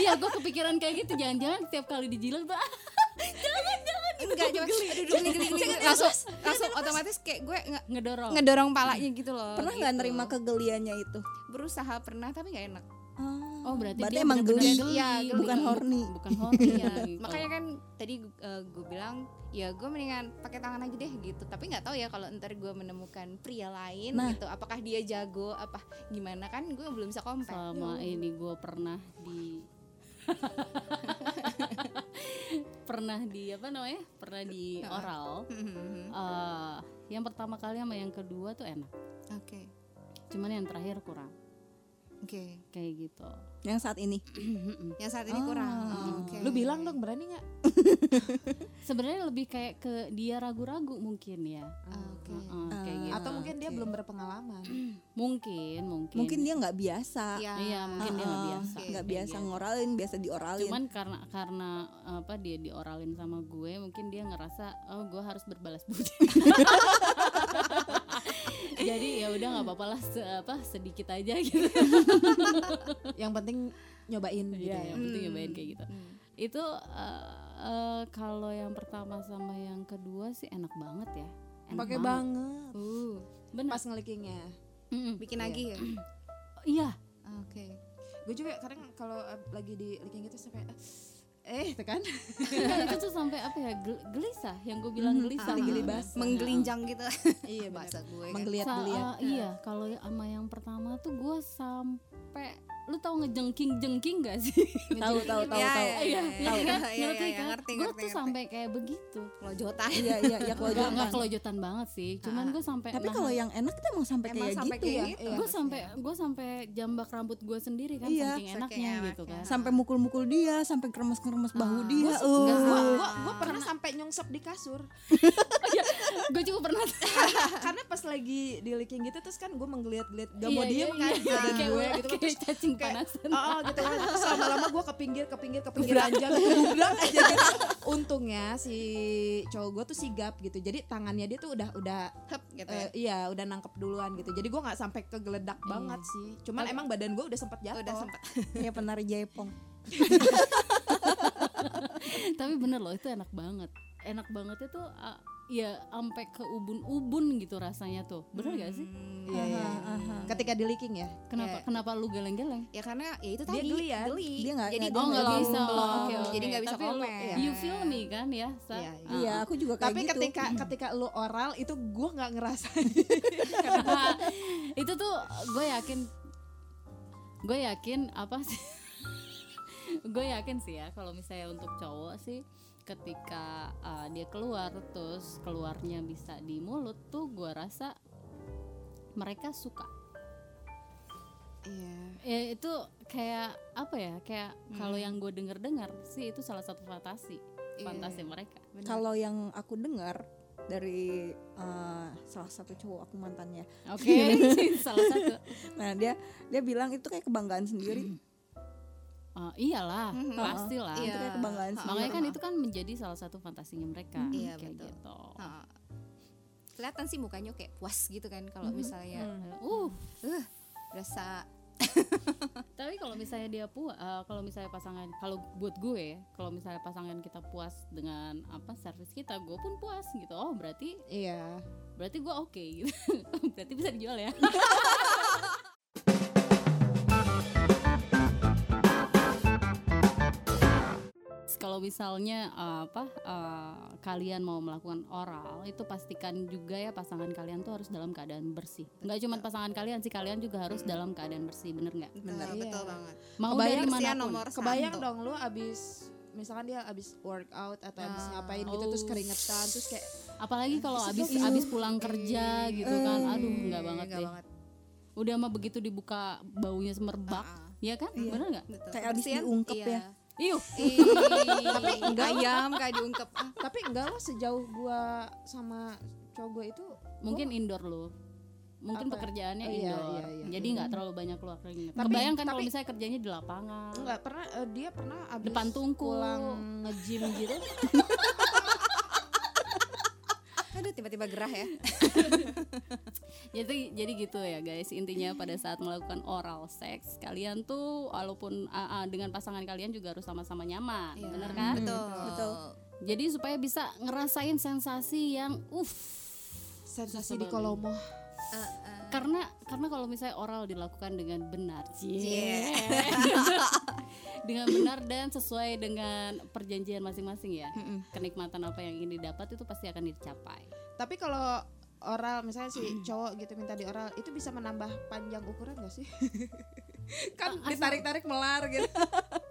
Speaker 3: Iya, gue kepikiran kayak gitu. Jangan-jangan setiap kali dijilat tuh, ah,
Speaker 1: enggak coba aduh, aduh, geli, geli, geli. langsung langsung otomatis kayak gue nge-
Speaker 3: ngedorong.
Speaker 1: ngedorong palanya gitu loh
Speaker 2: Pernah nggak
Speaker 1: gitu.
Speaker 2: nerima kegeliannya itu?
Speaker 1: berusaha pernah tapi nggak enak
Speaker 2: Ah,
Speaker 3: Oh, berarti,
Speaker 2: Berarti
Speaker 3: dia
Speaker 2: emang
Speaker 3: bener-bener
Speaker 2: geli.
Speaker 1: Iya, geli.
Speaker 2: bukan
Speaker 3: Bukan-
Speaker 2: horny.
Speaker 3: Bukan horny ya. gitu.
Speaker 1: makanya kan tadi eh, gue bilang ya gue mendingan pakai tangan aja deh gitu tapi nggak tahu ya kalau ntar gue menemukan pria lain
Speaker 2: Nah.
Speaker 1: gitu apakah dia jago apa gimana kan gue belum bisa compare
Speaker 3: selama ini gue pernah di pernah di apa namanya pernah di
Speaker 1: Heeh.
Speaker 3: oral
Speaker 1: Mhm.
Speaker 3: Eh, yang pertama kali sama yang kedua tuh enak
Speaker 1: oke
Speaker 3: cuman yang terakhir kurang
Speaker 1: oke
Speaker 3: kayak gitu
Speaker 2: Yang saat ini.
Speaker 1: yang saat ini kurang oke
Speaker 4: Lu bilang dong berani nggak?
Speaker 3: sebenarnya lebih kayak ke dia ragu-ragu mungkin ya
Speaker 1: Ah, oke
Speaker 3: Heeh, kayak gitu
Speaker 4: Atau mungkin dia belum berpengalaman.
Speaker 3: mungkin mungkin
Speaker 2: Mungkin dia nggak biasa.
Speaker 1: Iya.
Speaker 3: iya mungkin dia nggak
Speaker 2: Ah,
Speaker 3: biasa
Speaker 1: oke.
Speaker 2: Nggak
Speaker 3: Kayak
Speaker 2: biasa
Speaker 3: gitu.
Speaker 2: ngoralin, biasa dioralin.
Speaker 3: cuman karena karena apa dia dioralin sama gue mungkin dia ngerasa oh gue harus berbalas budi jadi ya udah nggak apa-apa lah se- apa sedikit aja gitu
Speaker 4: Yang penting nyobain gitu
Speaker 3: Iya,
Speaker 4: ya.
Speaker 3: yang penting nyobain
Speaker 1: Hmm.
Speaker 3: kayak gitu
Speaker 1: Hmm.
Speaker 3: itu eh, eh, kalau yang pertama sama yang kedua sih enak banget ya Enak
Speaker 4: Pakai
Speaker 3: banget.
Speaker 4: banget.
Speaker 1: Uh,
Speaker 3: benar
Speaker 4: Pas ngelikingnya.
Speaker 3: Mm-mm.
Speaker 1: bikin
Speaker 4: Iya.
Speaker 1: lagi ya
Speaker 3: iya
Speaker 1: Ah, oke
Speaker 4: Gue juga kadang kalau eh, lagi di liking gitu sampai eh tekan
Speaker 3: Nah, itu tuh sampai apa ya gel- gelisah yang gue bilang gelisah
Speaker 4: geli
Speaker 3: Nah,
Speaker 4: basah.
Speaker 1: menggelinjang Ah, gitu
Speaker 4: iya
Speaker 1: bahasa gue kan.
Speaker 3: Sa-
Speaker 2: Menggeliat-geliat.
Speaker 3: ah, iya, kalau sama yang pertama tuh gue sampai lu tahu ngejengking-jengking gak sih?
Speaker 2: Tahu tahu tahu
Speaker 1: Iya,
Speaker 2: tahu.
Speaker 1: iya, iya, iya,
Speaker 3: Ngerti kan?
Speaker 1: iya, iya,
Speaker 3: Ngerti
Speaker 1: iya,
Speaker 3: kan?
Speaker 1: ngerti,
Speaker 3: Gue
Speaker 1: ngerti,
Speaker 3: tuh
Speaker 1: ngerti.
Speaker 3: sampai kayak begitu.
Speaker 1: Kelojotan.
Speaker 2: Iya iya ya kalau
Speaker 3: Gak,
Speaker 2: jangan.
Speaker 3: gak kelojotan banget sih. Cuman gue sampai
Speaker 2: Tapi kalau yang enak tuh emang sampai
Speaker 4: Iya,
Speaker 1: Emang
Speaker 2: kayak
Speaker 1: sampai
Speaker 2: gitu.
Speaker 1: kayak
Speaker 2: ya.
Speaker 1: gitu.
Speaker 3: gue sampai gue sampai jambak rambut gue sendiri kan
Speaker 2: Iya,
Speaker 3: saking enaknya
Speaker 1: saking
Speaker 3: gitu
Speaker 1: enaknya.
Speaker 3: kan.
Speaker 2: Sampai mukul-mukul dia, sampai keremes-keremes bahu dia.
Speaker 4: Enggak,
Speaker 2: Eh,
Speaker 4: gua, gua, gua pernah sampai nyongsep di kasur
Speaker 3: gue juga pernah
Speaker 4: karena pas lagi di liking gitu terus kan gue menggeliat-geliat gak
Speaker 3: Iya,
Speaker 4: mau
Speaker 3: iya,
Speaker 4: diem kan
Speaker 3: iya.
Speaker 4: badan
Speaker 3: Kayak
Speaker 4: gue
Speaker 3: ular-
Speaker 4: gitu kan
Speaker 3: kayak
Speaker 4: terus
Speaker 3: cacing
Speaker 4: kayak-
Speaker 3: panasan.
Speaker 4: Oh, gitu kan. Terus lama-lama gue ke pinggir, ke pinggir, ke pinggir aja gitu. Gebrak aja gitu. Untungnya si cowok gue tuh sigap gitu. Jadi tangannya dia tuh udah udah
Speaker 1: Hep, gitu ya.
Speaker 4: eh, iya, udah nangkep duluan gitu. Jadi gue nggak sampai kegeledak
Speaker 3: Iya.
Speaker 4: banget sih. Cuman emang badan gue udah sempat jatuh.
Speaker 1: udah sempet
Speaker 2: Kayak Iya, penari Jepong.
Speaker 3: Tapi bener loh itu enak banget. Enak banget itu ah, ya sampai ke ubun-ubun gitu rasanya tuh. Bener gak sih?
Speaker 1: Hmm,
Speaker 4: Iya, iya.
Speaker 3: Hmm.
Speaker 4: Ketika di liking ya.
Speaker 3: Kenapa kenapa lu geleng-geleng?
Speaker 1: ya karena ya itu
Speaker 4: Dia
Speaker 1: tadi
Speaker 4: geli ya?
Speaker 2: Dia nggak-
Speaker 1: jadi
Speaker 2: nggak-
Speaker 1: gue
Speaker 3: Oh nggak
Speaker 1: belum-
Speaker 3: bisa,
Speaker 1: belum.
Speaker 3: oke oke.
Speaker 1: jadi nggak bisa
Speaker 3: Tapi lu-
Speaker 1: komen
Speaker 3: You feel me kan ya? Sa?
Speaker 4: Iya, iya.
Speaker 2: Iya, aku juga kayak
Speaker 4: Tapi
Speaker 2: gitu.
Speaker 4: ketika
Speaker 3: Hmm.
Speaker 4: ketika lu oral itu gue nggak ngerasa
Speaker 3: Nah, itu tuh gue yakin gue yakin apa sih gue yakin sih ya kalau misalnya untuk cowok sih ketika uh, dia keluar terus keluarnya bisa di mulut tuh gue rasa mereka suka
Speaker 4: Iya.
Speaker 3: ya itu kayak apa ya kayak kalau yang gue denger dengar sih itu salah satu fantasi fantasi mereka
Speaker 2: Kalau yang aku dengar dari eh, salah satu cowok aku mantannya,
Speaker 3: oke salah satu
Speaker 2: Nah dia dia bilang itu kayak kebanggaan sendiri,
Speaker 3: Uh, iyalah pastilah
Speaker 1: iya.
Speaker 2: itu kayak kebanggaan sendiri.
Speaker 3: makanya kan itu kan menjadi salah satu fantasinya mereka
Speaker 1: Iya,
Speaker 3: kayak
Speaker 1: betul.
Speaker 3: gitu
Speaker 1: Ah. kelihatan sih mukanya kayak puas gitu kan kalau misalnya
Speaker 3: uh
Speaker 1: rasa
Speaker 3: tapi kalau misalnya dia puas kalau misalnya pasangan kalau buat gue ya, kalau misalnya pasangan kita puas dengan apa servis kita gue pun puas gitu oh berarti
Speaker 4: Iya.
Speaker 3: berarti gue oke gitu berarti bisa dijual ya kalau misalnya eh, apa eh, kalian mau melakukan oral itu pastikan juga ya pasangan kalian tuh harus dalam keadaan bersih nggak cuma pasangan kalian sih kalian juga harus dalam keadaan bersih bener nggak
Speaker 1: benar
Speaker 4: Iya.
Speaker 1: eh, betul banget
Speaker 3: mau
Speaker 4: Kebayang ya
Speaker 3: dari
Speaker 1: Kebersihan
Speaker 3: manapun
Speaker 1: nomor satu.
Speaker 4: Kebayang dong lu abis misalkan dia abis workout atau abis ngapain gitu terus
Speaker 3: Oh.
Speaker 4: keringetan terus kayak
Speaker 3: apalagi kalau abis abis pulang kerja gitu
Speaker 4: Eh,
Speaker 3: kan aduh nggak banget
Speaker 1: Nggak
Speaker 3: deh
Speaker 1: banget
Speaker 3: udah mah begitu dibuka baunya semerbak
Speaker 4: Ah,
Speaker 3: ya kan
Speaker 4: Iya.
Speaker 3: bener nggak
Speaker 1: betul.
Speaker 2: Kayak abis
Speaker 1: Kebersihan,
Speaker 2: diungkep ya.
Speaker 3: Iya,
Speaker 1: tapi ayam kayak diungkep ah
Speaker 4: tapi enggak lo sejauh gua sama cowok gua itu ah.
Speaker 3: mungkin indoor loh. Mungkin
Speaker 4: Apa?
Speaker 3: pekerjaannya
Speaker 4: Oh, iya,
Speaker 3: indoor.
Speaker 4: iya, iya.
Speaker 3: Jadi nggak terlalu banyak keluar keringat.
Speaker 4: Tapi-
Speaker 3: Kebayang kan kalau
Speaker 4: tapi-
Speaker 3: misalnya kerjanya di lapangan.
Speaker 4: enggak pernah eh, dia pernah abis
Speaker 3: Depan tungku.
Speaker 4: pulang nge-gym gitu
Speaker 1: aduh tiba-tiba gerah ya
Speaker 3: jadi jadi gitu ya guys intinya pada saat melakukan oral seks kalian tuh walaupun ah, ah, dengan pasangan kalian juga harus sama-sama nyaman bener kan
Speaker 1: betul
Speaker 8: Betul.
Speaker 3: jadi supaya bisa ngerasain sensasi yang uff
Speaker 9: Sensasi di kolomo.
Speaker 3: karena karena kalau misalnya oral dilakukan dengan benar sih dengan benar dan sesuai dengan perjanjian masing-masing ya kenikmatan apa yang ingin didapat itu pasti akan dicapai
Speaker 4: Tapi kalau oral misalnya si cowok gitu minta di oral itu bisa menambah panjang ukuran gak sih? kan ditarik-tarik melar gitu.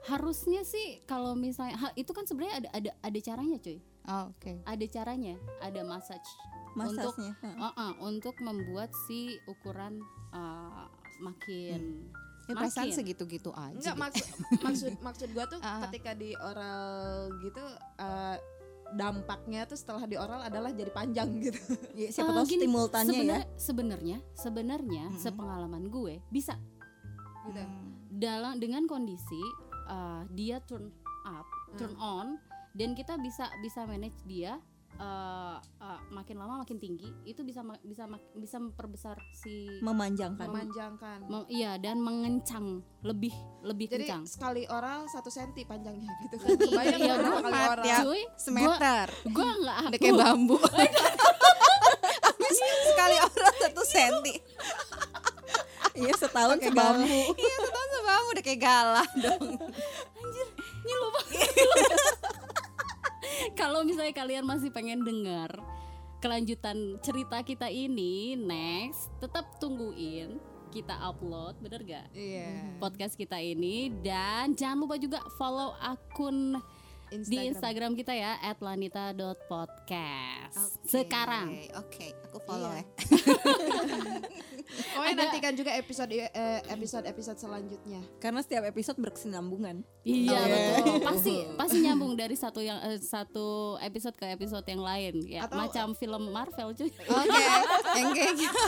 Speaker 3: harusnya sih kalau misalnya ha- itu kan sebenarnya ada ada ada caranya cuy
Speaker 2: Oh, oke
Speaker 3: ada caranya ada massage untuk
Speaker 8: Masasnya. Heeh.
Speaker 3: uh-uh, untuk membuat si ukuran uh, makin
Speaker 2: ya, perasaan
Speaker 3: makin.
Speaker 2: segitu-gitu aja
Speaker 4: Enggak maksud maksud maksud gua tuh
Speaker 2: Ah.
Speaker 4: ketika di oral gitu eh, dampaknya tuh setelah di oral adalah jadi panjang gitu.
Speaker 8: Ya, siapa
Speaker 3: Eh,
Speaker 2: Ah,
Speaker 8: tahu
Speaker 3: gini,
Speaker 8: stimultannya ya.
Speaker 3: sebenar- sebenarnya sebenarnya sepengalaman gue bisa
Speaker 2: gitu.
Speaker 4: Gitu.
Speaker 3: Hmm.
Speaker 8: Hmm.
Speaker 3: dalam dengan kondisi uh, dia turn up turn on dan kita bisa bisa manage dia uh, uh, makin lama makin tinggi itu bisa ma- bisa mak- bisa memperbesar si
Speaker 8: Memanjangkan.
Speaker 4: Memanjangkan.
Speaker 3: mem- iya dan mengencang lebih lebih
Speaker 4: Jadi
Speaker 3: kencang
Speaker 4: sekali oral satu senti panjangnya gitu. kan. Kebayang
Speaker 3: Iya,
Speaker 4: berapa
Speaker 3: gua
Speaker 4: kali
Speaker 2: empat
Speaker 4: oral.
Speaker 2: ya.
Speaker 3: cuy
Speaker 2: semeter
Speaker 3: gue nggak
Speaker 2: udah kayak
Speaker 3: aku-
Speaker 2: bambu
Speaker 8: Habis sekali orang satu senti. Iya setahun ke bambu.
Speaker 2: iya setahun sama kamu udah kayak galah
Speaker 3: ngilu banget. Kalau misalnya kalian masih pengen dengar kelanjutan cerita kita ini next, tetap tungguin kita upload, bener gak?
Speaker 4: Iya.
Speaker 3: Podcast kita ini dan jangan lupa juga follow akun di Instagram kita ya @lanita.podcast. Sekarang
Speaker 2: Oke, oke aku follow
Speaker 4: Iya.
Speaker 2: ya
Speaker 4: Pokoknya nantikan juga episode episode episode selanjutnya.
Speaker 8: Karena setiap episode berkesinambungan.
Speaker 3: Iya
Speaker 8: Oke.
Speaker 3: betul. Pasti pasti nyambung dari satu yang eh, satu episode ke episode yang lain ya.
Speaker 4: Atau-
Speaker 3: Macam film Marvel cuy.
Speaker 2: oke yang kayak gitu.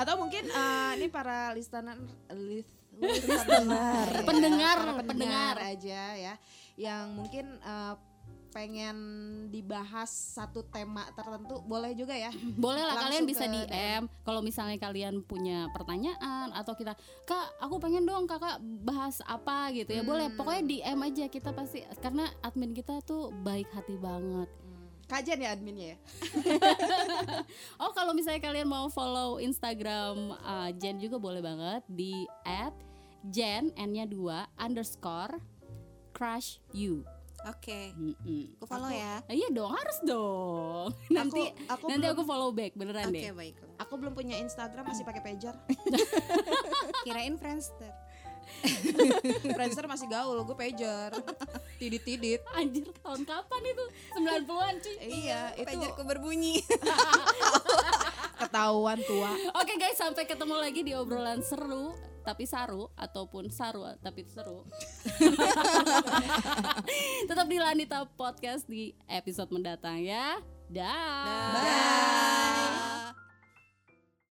Speaker 4: Atau mungkin eh, ini para listener list
Speaker 3: Pendengar,
Speaker 4: pendengar,
Speaker 3: pendengar.
Speaker 4: pendengar aja ya yang mungkin eh, pengen dibahas satu tema tertentu boleh juga ya.
Speaker 3: boleh lah
Speaker 4: Langsung
Speaker 3: kalian bisa
Speaker 4: ke
Speaker 3: DM kalau misalnya kalian punya pertanyaan atau kita kak aku pengen dong kakak bahas apa gitu ya boleh
Speaker 4: Hmm.
Speaker 3: pokoknya DM aja kita pasti karena admin kita tuh baik hati banget
Speaker 4: Kajian ya adminnya ya.
Speaker 3: oh kalau misalnya kalian mau follow Instagram uh, Jen juga boleh banget di at Jen n-nya dua underscore crush you
Speaker 2: oke
Speaker 3: Mm-mm.
Speaker 2: aku follow ya
Speaker 3: Ah, iya dong harus dong nanti
Speaker 4: aku
Speaker 3: nanti
Speaker 4: belum,
Speaker 3: aku follow back beneran
Speaker 2: oke
Speaker 3: deh
Speaker 2: baiklah
Speaker 4: aku belum punya Instagram masih pakai pager.
Speaker 2: kirain friendster
Speaker 4: Friendster masih gaul, gue pager. Tidit-tidit.
Speaker 3: anjir tahun kapan itu 90-an cuy
Speaker 4: Iya, itu
Speaker 2: pagerku berbunyi
Speaker 4: ketahuan tua.
Speaker 3: Oke guys, sampai ketemu lagi di obrolan seru tapi saru ataupun saru tapi seru. Tetap di Lanita Podcast di episode mendatang ya. Dah.
Speaker 8: Bye.